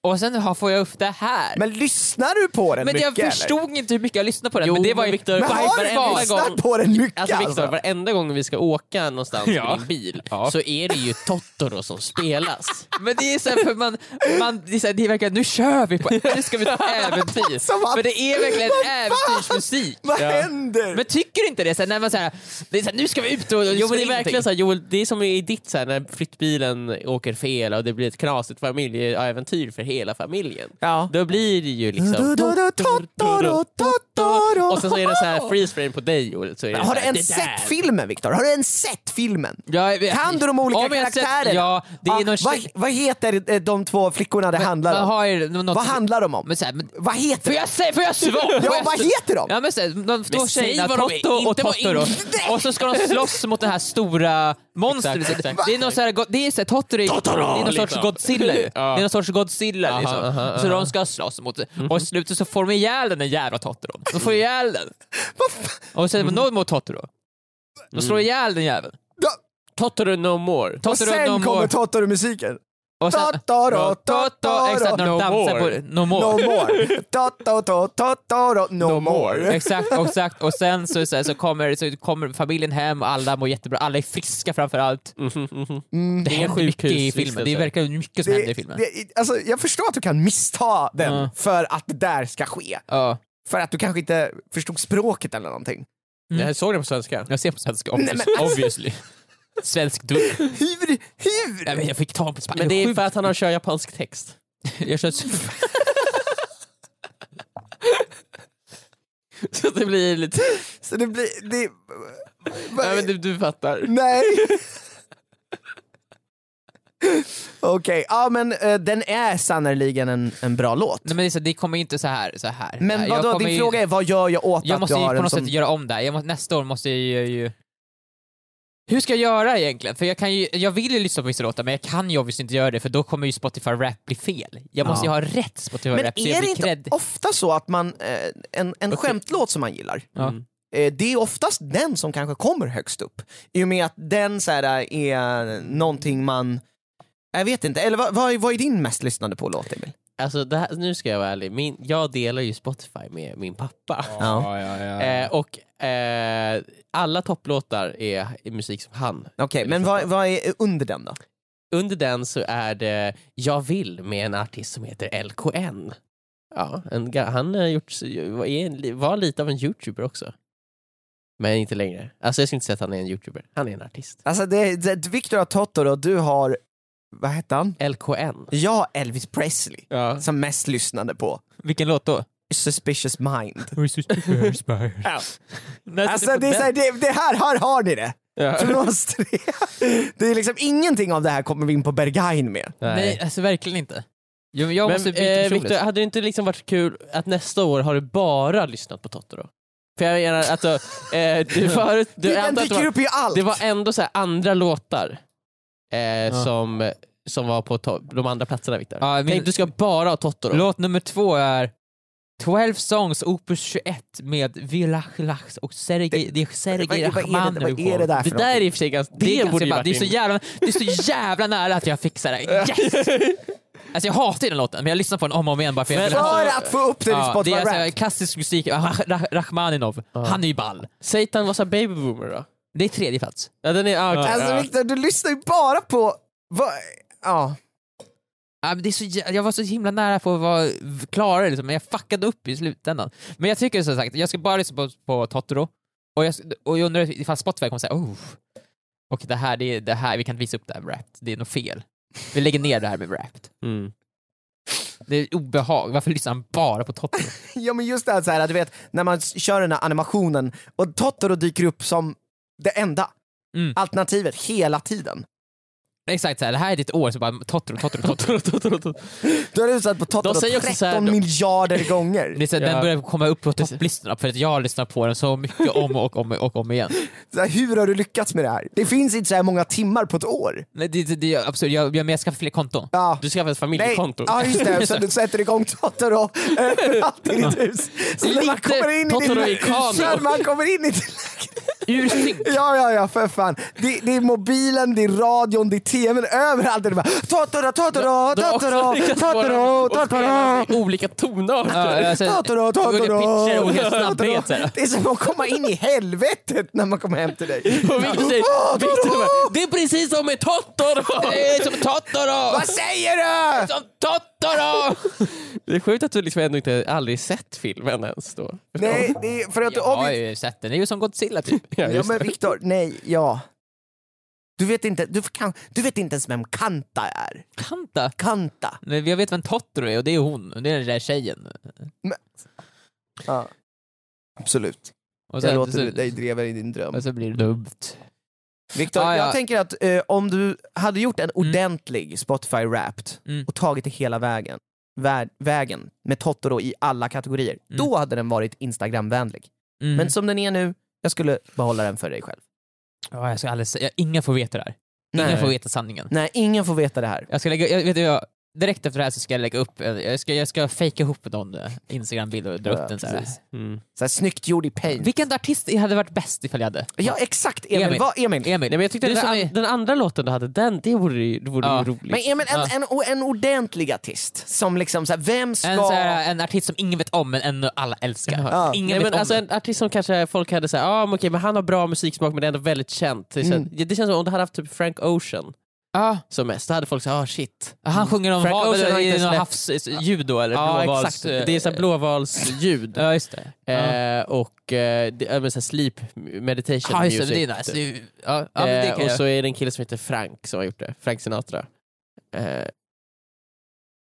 [SPEAKER 4] Och sen har- får jag upp det här.
[SPEAKER 3] Men lyssnar du på den
[SPEAKER 4] Men
[SPEAKER 3] mycket
[SPEAKER 4] jag förstod inte hur mycket jag lyssnade på den.
[SPEAKER 2] Jo,
[SPEAKER 4] men det var
[SPEAKER 2] men
[SPEAKER 4] ju
[SPEAKER 2] Victor,
[SPEAKER 3] eller? Men
[SPEAKER 2] Varje-
[SPEAKER 3] har du
[SPEAKER 2] varenda
[SPEAKER 3] lyssnat
[SPEAKER 2] gång-
[SPEAKER 3] på den mycket
[SPEAKER 2] Alltså
[SPEAKER 3] alltså?
[SPEAKER 2] Viktor, varenda gång vi ska åka någonstans
[SPEAKER 4] Ja.
[SPEAKER 2] i din bil
[SPEAKER 4] Ja.
[SPEAKER 2] så är det ju Totoro som spelas.
[SPEAKER 4] Men det är så här, för man, man det, är så här, det är verkligen, nu kör vi på, nu ska vi på
[SPEAKER 3] [LAUGHS]
[SPEAKER 4] äventyr.
[SPEAKER 3] Som att-
[SPEAKER 4] För det är verkligen äventyrsmusik.
[SPEAKER 3] Vad händer?
[SPEAKER 4] Men tycker du inte det? Så här, när man så här, det är så här, nu ska vi ut
[SPEAKER 2] Jo
[SPEAKER 4] och
[SPEAKER 2] men det är
[SPEAKER 4] springa
[SPEAKER 2] verkligen så här, Joel, det är som i ditt så här, när flyttbilen åker fel och det blir ett knasigt familjeäventyr för hela familjen.
[SPEAKER 4] Ja.
[SPEAKER 2] Då blir det ju liksom... Och sen så är det så här freeze frame på dig. Och så är det
[SPEAKER 3] Har
[SPEAKER 2] så
[SPEAKER 3] du
[SPEAKER 2] här,
[SPEAKER 3] ens
[SPEAKER 2] "Det där."
[SPEAKER 3] sett filmen Viktor? Har du ens sett filmen?
[SPEAKER 4] Ja, jag vet-
[SPEAKER 3] Kan du de olika
[SPEAKER 4] Ja, men jag har sett-
[SPEAKER 3] karaktärerna?
[SPEAKER 4] Ja, det är
[SPEAKER 3] Ah,
[SPEAKER 4] någon
[SPEAKER 3] vad,
[SPEAKER 4] tjej-
[SPEAKER 3] vad heter eh, de två flickorna det handlar om?
[SPEAKER 4] Vad har- något-
[SPEAKER 3] Vad handlar de om?
[SPEAKER 4] Men så här, men,
[SPEAKER 3] Vad heter
[SPEAKER 4] får jag säga, får jag svara?
[SPEAKER 3] Ja, vad heter de?
[SPEAKER 4] Ja men såhär, de två
[SPEAKER 2] Men säg
[SPEAKER 4] tjejerna,
[SPEAKER 2] vad de är,
[SPEAKER 4] Totto och
[SPEAKER 2] inte vad
[SPEAKER 4] Totoro. Och så ska de slåss mot det här stora monstret.
[SPEAKER 2] Exakt, exakt.
[SPEAKER 4] Det är någon såhär, det är såhär, Totoro är, det är någon sorts
[SPEAKER 2] liksom. [LAUGHS]
[SPEAKER 4] Godzilla ju. Det är någon sorts Godzilla
[SPEAKER 2] Aha,
[SPEAKER 4] liksom.
[SPEAKER 2] aha, Mhm.
[SPEAKER 4] Så de ska slåss mot det. Och i slutet så får de ihjäl den där jävla Totoron. De får ihjäl den. Och sen
[SPEAKER 2] Mm.
[SPEAKER 4] någon mot Totoro. De slår ihjäl den jäveln.
[SPEAKER 2] Totoro no more.
[SPEAKER 3] Och
[SPEAKER 4] Totoro
[SPEAKER 3] sen
[SPEAKER 4] no
[SPEAKER 3] kommer
[SPEAKER 4] more.
[SPEAKER 3] Totoro-musiken.
[SPEAKER 4] Och sen-
[SPEAKER 3] Totoro, Totoro,
[SPEAKER 4] Exakt, när de
[SPEAKER 2] No
[SPEAKER 4] dansar
[SPEAKER 2] more.
[SPEAKER 4] på [LAUGHS] No
[SPEAKER 3] No
[SPEAKER 4] more.
[SPEAKER 3] more. Totoro, Totoro, no [LAUGHS] more.
[SPEAKER 4] Exakt, exakt. Och sen så, så, här, så, kommer, så kommer familjen hem och alla mår jättebra. Alla är friska framförallt.
[SPEAKER 2] Mm,
[SPEAKER 4] Det
[SPEAKER 2] Inga
[SPEAKER 4] händer mycket i
[SPEAKER 2] sjukhus,
[SPEAKER 4] filmen. Det
[SPEAKER 2] vistelser.
[SPEAKER 4] verkar mycket som händer i filmen.
[SPEAKER 3] Mm. det, alltså, jag förstår att du kan missta den
[SPEAKER 4] Ja.
[SPEAKER 3] för att det där ska ske.
[SPEAKER 4] Ja.
[SPEAKER 3] För att du kanske inte förstod språket eller någonting.
[SPEAKER 2] Jag såg den på svenska.
[SPEAKER 4] Mm. Jag ser på svenska
[SPEAKER 3] Nej,
[SPEAKER 4] obviously.
[SPEAKER 3] men- alltså-
[SPEAKER 4] obviously. Svensk dubb.
[SPEAKER 3] Hur? Hur?
[SPEAKER 4] Nej, men jag fick ta på spanska.
[SPEAKER 2] Men det är för att han har kört japansk text.
[SPEAKER 4] Jag kör...
[SPEAKER 2] [LAUGHS] Så det blir lite...
[SPEAKER 3] Så det blir... Det,
[SPEAKER 2] Nej, men du, du fattar.
[SPEAKER 3] Nej. Okej, ja men eh, den är sannerligen en, en bra låt.
[SPEAKER 4] Nej, men det, är så, det kommer ju inte så här. Så här.
[SPEAKER 3] Men
[SPEAKER 4] Jag
[SPEAKER 3] vadå,
[SPEAKER 4] kommer
[SPEAKER 3] din
[SPEAKER 4] ju-
[SPEAKER 3] fråga är vad gör jag åt
[SPEAKER 4] Jag
[SPEAKER 3] att
[SPEAKER 4] måste
[SPEAKER 3] jag
[SPEAKER 4] ju
[SPEAKER 3] har
[SPEAKER 4] på
[SPEAKER 3] en
[SPEAKER 4] något
[SPEAKER 3] sån...
[SPEAKER 4] sätt göra om det här. Jag måste, nästa år måste jag ju- ju... Hur ska jag göra egentligen? För jag, kan ju, jag vill ju lyssna på vissa låtar men jag kan ju obviously inte göra det för då kommer ju Spotify Rap bli fel. Jag måste
[SPEAKER 3] Ja.
[SPEAKER 4] ju ha rätt Spotify
[SPEAKER 3] Men
[SPEAKER 4] Rap så
[SPEAKER 3] är
[SPEAKER 4] jag
[SPEAKER 3] det
[SPEAKER 4] blir
[SPEAKER 3] inte
[SPEAKER 4] cred.
[SPEAKER 3] ofta så att man, eh, en, en skämtlåt som man gillar,
[SPEAKER 4] Ja.
[SPEAKER 2] Mm.
[SPEAKER 3] eh, det är oftast den som kanske kommer högst upp. I och med att den så här, eh, är någonting man, jag vet inte, eller vad, vad, är- vad är din mest lyssnade på låt Emil?
[SPEAKER 2] Alltså, det här, nu ska jag vara ärlig. Min, jag delar ju Spotify med min pappa.
[SPEAKER 4] [LAUGHS]
[SPEAKER 3] Ja.
[SPEAKER 2] Eh, och eh, alla topplåtar är är musik som han.
[SPEAKER 3] Okej, men vad, vad är under den då?
[SPEAKER 2] Under den så är det Jag vill med en artist som heter LKN. Ja, en, ga- han har gjort, var, är en, var lite av en youtuber också. Men inte längre. Alltså jag skulle inte säga att han är en youtuber. Han är en artist.
[SPEAKER 3] Alltså det, det, Victor har Totoro och du har, vad hette han?
[SPEAKER 2] LKN.
[SPEAKER 3] Jag har Elvis Presley
[SPEAKER 4] Ja.
[SPEAKER 3] som mest lyssnade på
[SPEAKER 4] Vilken låt då?
[SPEAKER 3] Suspicious Mind.
[SPEAKER 4] Nästa
[SPEAKER 3] Alltså det, är så här, det, det här, här har ni det! Från [LAUGHS] oss tre. Det är liksom ingenting av det här kommer vi in på Berghain med.
[SPEAKER 4] Nej, alltså verkligen inte. Jag, jag
[SPEAKER 2] Men
[SPEAKER 4] måste byta
[SPEAKER 2] eh,
[SPEAKER 4] personlighet.
[SPEAKER 2] Victor, hade det inte liksom varit kul att nästa år har du bara lyssnat på Totoro? För jag menar, alltså, eh,
[SPEAKER 4] [LAUGHS]
[SPEAKER 2] du förut, du, jag
[SPEAKER 3] den
[SPEAKER 2] antar att det
[SPEAKER 3] dyker
[SPEAKER 2] var-
[SPEAKER 3] upp i allt!
[SPEAKER 2] Det var ändå så här andra låtar eh, som, som var på to- de andra platserna Viktor.
[SPEAKER 4] Ja, min-
[SPEAKER 2] Tänk du ska bara ha Totoro.
[SPEAKER 4] Låt nummer två är 12 Songs Opus 21 med Villach Lachs och Sergej, det är
[SPEAKER 3] vad,
[SPEAKER 4] Sergej
[SPEAKER 3] är- vad, är det, vad är det
[SPEAKER 4] Rachmaninoff.
[SPEAKER 3] där
[SPEAKER 2] det
[SPEAKER 3] för
[SPEAKER 2] där är
[SPEAKER 3] någonting?
[SPEAKER 2] i och för sig ganska... Det,
[SPEAKER 4] Det är,
[SPEAKER 2] borde
[SPEAKER 4] ganska
[SPEAKER 2] ju
[SPEAKER 4] bra.
[SPEAKER 2] varit
[SPEAKER 4] det är så
[SPEAKER 2] in.
[SPEAKER 4] jävla, det är så jävla nära att jag
[SPEAKER 2] [LAUGHS]
[SPEAKER 4] fixar det. Yes! Alltså jag hatar ju den låten, men jag lyssnar på den om och om igen bara för jag vill ha
[SPEAKER 3] För
[SPEAKER 4] den.
[SPEAKER 3] att få upp det i
[SPEAKER 4] Ja, det
[SPEAKER 3] Spotify
[SPEAKER 4] är
[SPEAKER 3] Rap.
[SPEAKER 4] alltså, klassisk musik, Rach- Rach- Rachmaninov, han är ju ball.
[SPEAKER 2] Satan var så här baby boomer då?
[SPEAKER 4] Det är tredje plats.
[SPEAKER 2] Ja den är... ah, okej.
[SPEAKER 3] Alltså
[SPEAKER 2] ja.
[SPEAKER 3] Victor, du lyssnar ju bara på... Vad, ja.
[SPEAKER 4] Ja, men det är så, jä- jag var så himla nära på att vara klara det, liksom, men jag fuckade upp i slutändan. Men jag tycker som sagt, jag ska bara lyssna på, på Totoro, och jag, och jag undrar ifall Spotify kommer säga oh, och det här, det, är- det här, vi kan inte visa upp det här med Wrapped, det är något fel. Vi lägger ner det här med Wrapped.
[SPEAKER 2] Mm.
[SPEAKER 4] Det är obehag, varför lyssnar han bara på Totoro?
[SPEAKER 3] ja men just det här, så här, du vet när man s- kör den här animationen och Totoro dyker upp som det enda
[SPEAKER 4] Mm.
[SPEAKER 3] alternativet hela tiden.
[SPEAKER 4] Exakt såhär, det här är ditt år, så bara Totoro, Totoro, Totoro, Totoro. Totoro.
[SPEAKER 3] Du har lyssnat på Totoro
[SPEAKER 2] De säger också
[SPEAKER 3] 13
[SPEAKER 2] så här då.
[SPEAKER 3] miljarder
[SPEAKER 4] Det
[SPEAKER 2] [LAUGHS]
[SPEAKER 3] gånger.
[SPEAKER 4] är så här,
[SPEAKER 2] Ja.
[SPEAKER 4] Den börjar komma upp på topplistorna för att jag lyssnar på den så mycket om och om och om igen.
[SPEAKER 3] Så här, hur har du lyckats med det här? Det finns inte så här många timmar på ett år.
[SPEAKER 4] [LAUGHS] Nej, det, det, det är absurt, jag, jag, men jag skaffar fler konton.
[SPEAKER 3] Ja.
[SPEAKER 2] Du skaffade ett
[SPEAKER 3] Nej,
[SPEAKER 2] familjekonto.
[SPEAKER 3] ja just
[SPEAKER 2] [LAUGHS]
[SPEAKER 3] det, så du sätter igång Totoro [LAUGHS] överallt i ditt hus. Så när man
[SPEAKER 4] Lite
[SPEAKER 3] kommer in i din
[SPEAKER 4] Totoro i
[SPEAKER 3] lä-
[SPEAKER 4] kamera.
[SPEAKER 3] så när man kommer in i din [LAUGHS] lägenhet.
[SPEAKER 4] Ur synk!
[SPEAKER 3] Ja, ja, ja för fan. Det, det är mobilen, det är radion, det är tvn, överallt är det bara Totoro,
[SPEAKER 2] [LAUGHS]
[SPEAKER 3] Totoro,
[SPEAKER 2] De har också
[SPEAKER 3] Totoro,
[SPEAKER 2] lyckats
[SPEAKER 3] Totoro,
[SPEAKER 2] bara- [LAUGHS] och
[SPEAKER 3] Toro,
[SPEAKER 2] spela i Olika tonarter.
[SPEAKER 4] Ja, alltså,
[SPEAKER 3] Totoro,
[SPEAKER 4] Olika pitcher och olika
[SPEAKER 3] Totoro,
[SPEAKER 4] snabbhet. så här.
[SPEAKER 3] Det är som att komma in i helvetet när man kommer hem till
[SPEAKER 4] [LAUGHS]
[SPEAKER 3] dig.
[SPEAKER 2] Och Victor säger, Victor bara, det är precis som med Totoro!
[SPEAKER 4] Det är som [LAUGHS] Totoro!
[SPEAKER 3] Vad säger du?
[SPEAKER 4] Som Totoro!
[SPEAKER 2] Det är sjukt att du liksom ändå inte aldrig sett filmen ens då.
[SPEAKER 3] Nej, det är för att du
[SPEAKER 4] Jag har
[SPEAKER 3] obvi-
[SPEAKER 4] ju sett den, det är ju som Godzilla typ.
[SPEAKER 2] Ja,
[SPEAKER 3] Ja
[SPEAKER 2] just
[SPEAKER 3] men Viktor, nej, ja. Du vet inte, du, kan, du vet inte ens vem Kanta är.
[SPEAKER 4] Kanta?
[SPEAKER 3] Kanta.
[SPEAKER 4] Nej, Jag vet vem Totoro är och det är hon, och det är den där tjejen.
[SPEAKER 3] Ja. Absolut.
[SPEAKER 4] Och
[SPEAKER 3] jag
[SPEAKER 4] sen-
[SPEAKER 3] låter
[SPEAKER 4] så,
[SPEAKER 3] dig driva i din dröm.
[SPEAKER 4] och så blir det dumt.
[SPEAKER 3] Viktor,
[SPEAKER 4] Ah,
[SPEAKER 3] jag
[SPEAKER 4] ja.
[SPEAKER 3] tänker att eh, om du hade gjort en ordentlig Spotify Wrapped
[SPEAKER 4] Mm.
[SPEAKER 3] och tagit det hela vägen, vä- vägen med Totoro i alla kategorier, då hade den varit Instagram-vänlig.
[SPEAKER 4] Mm.
[SPEAKER 3] Men som den är nu, jag skulle behålla den för dig själv.
[SPEAKER 4] Ja, jag ska alldeles, jag, ingen får veta det här. Ingen
[SPEAKER 3] Nej.
[SPEAKER 4] får veta sanningen.
[SPEAKER 3] Nej, ingen får veta det här.
[SPEAKER 4] Jag ska lägga, jag, vet du, jag, direkt efter det här så ska jag lägga upp, eh, jag ska, jag ska fejka ihop någon eh, Instagram-bild och dra
[SPEAKER 3] Ja,
[SPEAKER 4] upp den så här.
[SPEAKER 3] precis.
[SPEAKER 2] Mm.
[SPEAKER 3] Så här, snyggt gjord i paint.
[SPEAKER 4] Vilken artist hade varit bäst ifall jag hade?
[SPEAKER 3] Ja exakt, Emil.
[SPEAKER 4] Emil.
[SPEAKER 3] Vad, Emil.
[SPEAKER 4] Emil,
[SPEAKER 2] Nej, men jag tyckte
[SPEAKER 4] du
[SPEAKER 2] den,
[SPEAKER 4] som
[SPEAKER 2] an-
[SPEAKER 4] är...
[SPEAKER 2] den andra låten du hade, den, det vore ju, det vore
[SPEAKER 4] Ja.
[SPEAKER 2] ju roligt.
[SPEAKER 3] Men Emil, en, en, en ordentlig artist som liksom, så här, vem ska...
[SPEAKER 4] En, så här, eh, en artist som ingen vet om men ändå alla älskar.
[SPEAKER 3] Ja.
[SPEAKER 4] Ingen
[SPEAKER 2] Nej,
[SPEAKER 4] vet
[SPEAKER 2] men
[SPEAKER 4] om
[SPEAKER 2] alltså
[SPEAKER 4] den.
[SPEAKER 2] en artist som kanske folk hade såhär, ah, men okej, men han har bra musiksmak men det är ändå väldigt känt. Det känns, ja,
[SPEAKER 4] Mm.
[SPEAKER 2] det känns som om du hade haft typ Frank Ocean
[SPEAKER 4] Ja.
[SPEAKER 2] som mest, då hade folk sagt ah shit.
[SPEAKER 4] Ja, Han sjunger om
[SPEAKER 2] Frank
[SPEAKER 4] hav,
[SPEAKER 2] Ocean har
[SPEAKER 4] i
[SPEAKER 2] inte
[SPEAKER 4] någon
[SPEAKER 2] släppt-
[SPEAKER 4] havsljud då eller
[SPEAKER 2] Ja
[SPEAKER 4] blåvals,
[SPEAKER 2] exakt,
[SPEAKER 4] eh,
[SPEAKER 2] det är såhär blåvalsljud.
[SPEAKER 4] Ja just det. Ja.
[SPEAKER 2] Eh, och eh, det, ja, men så här sleep meditation
[SPEAKER 4] Ja just
[SPEAKER 2] music. typ.
[SPEAKER 4] det, det är nice. Det är ju- Ja, ja, men det
[SPEAKER 2] Eh,
[SPEAKER 4] kan
[SPEAKER 2] och
[SPEAKER 4] jag.
[SPEAKER 2] så är det en kille som heter Frank som har gjort det, Frank Sinatra. Eh,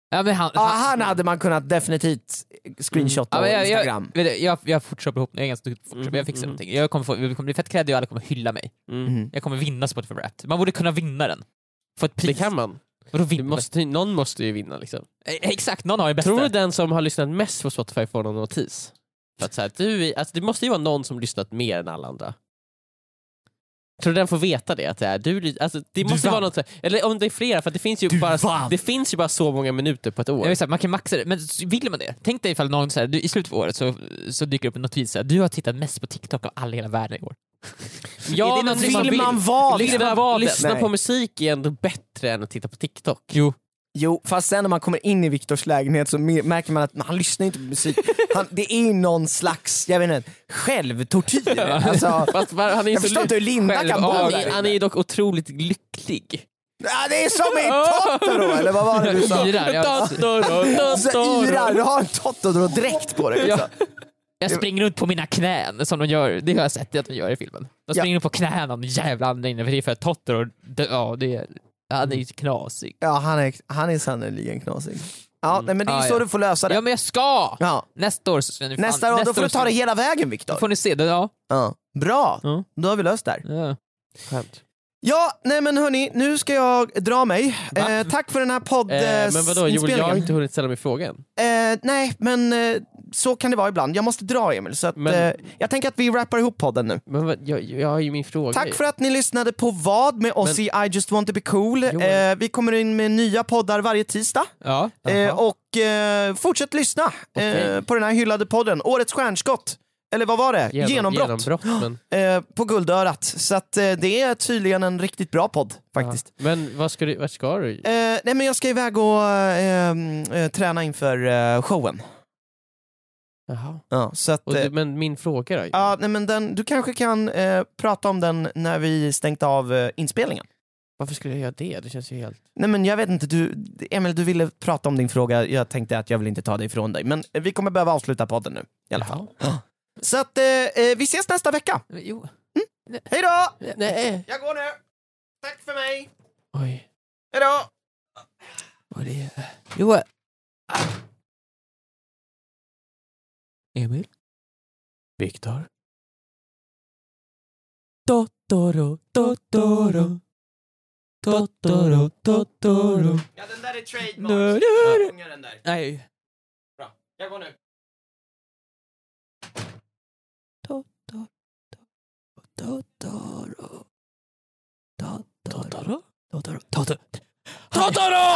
[SPEAKER 4] Ja, men han,
[SPEAKER 3] Ja, han hade man kunnat definitivt screenshotta
[SPEAKER 4] Mm. Ja,
[SPEAKER 3] på
[SPEAKER 4] men jag, jag,
[SPEAKER 3] Instagram.
[SPEAKER 4] vet du, jag, jag fortsätter ihop, jag är ganska duktig på Photoshop,
[SPEAKER 2] Mhm,
[SPEAKER 4] jag fixar
[SPEAKER 2] mhm.
[SPEAKER 4] någonting. Jag kommer, få, jag kommer bli fett kreddig och alla kommer hylla mig.
[SPEAKER 2] mm.
[SPEAKER 3] Mm.
[SPEAKER 4] Jag kommer vinna Spotify Wrapped. Man borde kunna vinna den. Få ett
[SPEAKER 2] Det
[SPEAKER 4] pris.
[SPEAKER 2] kan man.
[SPEAKER 4] Vadå
[SPEAKER 2] Du
[SPEAKER 4] vinna?
[SPEAKER 2] måste, ju- någon måste ju vinna liksom.
[SPEAKER 4] Eh, Exakt, någon har ju bästa.
[SPEAKER 2] Tror du den som har lyssnat mest på Spotify får någon notis? För att så här, du, är- alltså det måste ju vara någon som lyssnat mer än alla andra. Tror du den får veta det? Att det, är, du, ly- alltså det måste ju
[SPEAKER 4] vann.
[SPEAKER 2] vara något, så här- eller om det är flera, för att det finns, ju bara,
[SPEAKER 3] vann.
[SPEAKER 2] det finns ju bara så många minuter på ett
[SPEAKER 4] Jag
[SPEAKER 2] år.
[SPEAKER 4] vill säga, man kan maxa det, men s- vill man det? Tänk dig ifall någon så här, du, i slutet av året så, så dyker upp en notis så här, du har tittat mest på TikTok av alla i hela världen i år.
[SPEAKER 2] Ja,
[SPEAKER 4] Är det
[SPEAKER 2] men
[SPEAKER 4] någonting
[SPEAKER 2] vill
[SPEAKER 4] man vill?
[SPEAKER 3] man vara det?
[SPEAKER 2] Lyssna,
[SPEAKER 4] vad-
[SPEAKER 2] lyssna
[SPEAKER 3] Nej.
[SPEAKER 2] på musik är ändå bättre än att titta på TikTok.
[SPEAKER 4] Jo.
[SPEAKER 3] Jo, fast sen när man kommer in i Viktors lägenhet så mer- märker man att men han lyssnar inte på musik. Han, det är ju någon slags, jag vet inte, självtortyr. Alltså,
[SPEAKER 2] Fast var- han är ju
[SPEAKER 3] jag
[SPEAKER 2] så
[SPEAKER 3] förstår inte hur Linda
[SPEAKER 2] själv-
[SPEAKER 3] kan bo
[SPEAKER 2] han,
[SPEAKER 3] där
[SPEAKER 2] är, han är ju dock otroligt lycklig.
[SPEAKER 3] Ja, det är som i Totoro, eller vad var det du sa?
[SPEAKER 4] Yrar, jag, Alltså,
[SPEAKER 3] Så
[SPEAKER 2] Totoro,
[SPEAKER 3] Yra, du har en Totoro-dräkt på dig. liksom.
[SPEAKER 4] jag springer runt på mina knän som de gör, det har jag sett att de gör i filmen. De
[SPEAKER 3] Ja.
[SPEAKER 4] springer runt på knäna om jävla anledning, för det är för att Totoro, det- ja det är, han är ju knasig.
[SPEAKER 3] Ja, han är, han är sannerligen knasig. Ja, nej, men det är ju
[SPEAKER 4] Ah,
[SPEAKER 3] så
[SPEAKER 4] ja.
[SPEAKER 3] du får lösa
[SPEAKER 4] Ja
[SPEAKER 3] det.
[SPEAKER 4] men jag ska!
[SPEAKER 3] Ja.
[SPEAKER 4] Nästa år så ska ni fan-
[SPEAKER 3] Nästa år, då får
[SPEAKER 4] år
[SPEAKER 3] du
[SPEAKER 4] så-
[SPEAKER 3] ta det hela vägen
[SPEAKER 4] Då
[SPEAKER 3] Viktor.
[SPEAKER 4] får ni se, det, ja.
[SPEAKER 3] Ja. Bra,
[SPEAKER 4] Ja.
[SPEAKER 3] då har vi löst det här.
[SPEAKER 4] ja.
[SPEAKER 2] Skönt.
[SPEAKER 3] Ja, nej men hörni, nu ska jag dra mig.
[SPEAKER 4] Va?
[SPEAKER 3] Eh, tack för den här
[SPEAKER 2] Eh, men vadå, Joel, jag har
[SPEAKER 3] poddinspelningen.
[SPEAKER 2] inte hunnit ställa mig frågan.
[SPEAKER 3] eh, nej, men eh, så kan det vara ibland. Jag måste dra Emil, så att,
[SPEAKER 2] Men-
[SPEAKER 3] eh, jag tänker att vi rappar ihop podden nu.
[SPEAKER 2] Men vad, jag, jag har ju min fråga.
[SPEAKER 3] Tack för att ni lyssnade på vad med oss i I just want to be cool.
[SPEAKER 2] Joel.
[SPEAKER 3] Eh, vi kommer in med nya poddar varje tisdag.
[SPEAKER 4] ja.
[SPEAKER 3] Eh, och eh, fortsätt lyssna eh,
[SPEAKER 2] Okej.
[SPEAKER 3] på den här hyllade podden. Årets stjärnskott, eller vad var det?
[SPEAKER 2] Genom-
[SPEAKER 3] Genombrott,
[SPEAKER 4] [GASPS]
[SPEAKER 3] [GASPS]
[SPEAKER 2] men,
[SPEAKER 3] Eh, på Guldörat. Så att, eh, det är tydligen en riktigt bra podd faktiskt.
[SPEAKER 2] Ja. men vad ska du, vart ska du?
[SPEAKER 3] Eh, nej men jag ska iväg och eh, eh, träna inför eh, showen.
[SPEAKER 2] Jaha.
[SPEAKER 3] Ja, så att,
[SPEAKER 2] Och
[SPEAKER 3] eh,
[SPEAKER 2] du, men min fråga då?
[SPEAKER 3] ja, nej men den, du kanske kan eh, prata om den när vi stängt av eh, inspelningen.
[SPEAKER 2] Varför skulle jag göra det? Det känns ju helt...
[SPEAKER 3] Nej men jag vet inte, du, Emil du ville prata om din fråga, jag tänkte att jag vill inte ta det ifrån dig. Men eh, vi kommer behöva avsluta podden nu i alla fall. Så att eh, eh, vi ses nästa vecka.
[SPEAKER 4] Jo.
[SPEAKER 3] Hej då!
[SPEAKER 2] Nej!
[SPEAKER 3] Jag går nu. Tack för mig.
[SPEAKER 2] Oj.
[SPEAKER 3] Hej då!
[SPEAKER 4] Vad det är... Ah. Joel. Emil?
[SPEAKER 2] Viktor?
[SPEAKER 4] Totoro, Totoro. Totoro, Totoro.
[SPEAKER 3] Ja den där är
[SPEAKER 4] Nu,
[SPEAKER 3] trademark.
[SPEAKER 4] nu, nu.
[SPEAKER 3] Sjunga den där.
[SPEAKER 4] Nej.
[SPEAKER 3] Jag går nu.
[SPEAKER 4] Totoro, Totoro. Totoro? Totoro. Totoro. Totoro!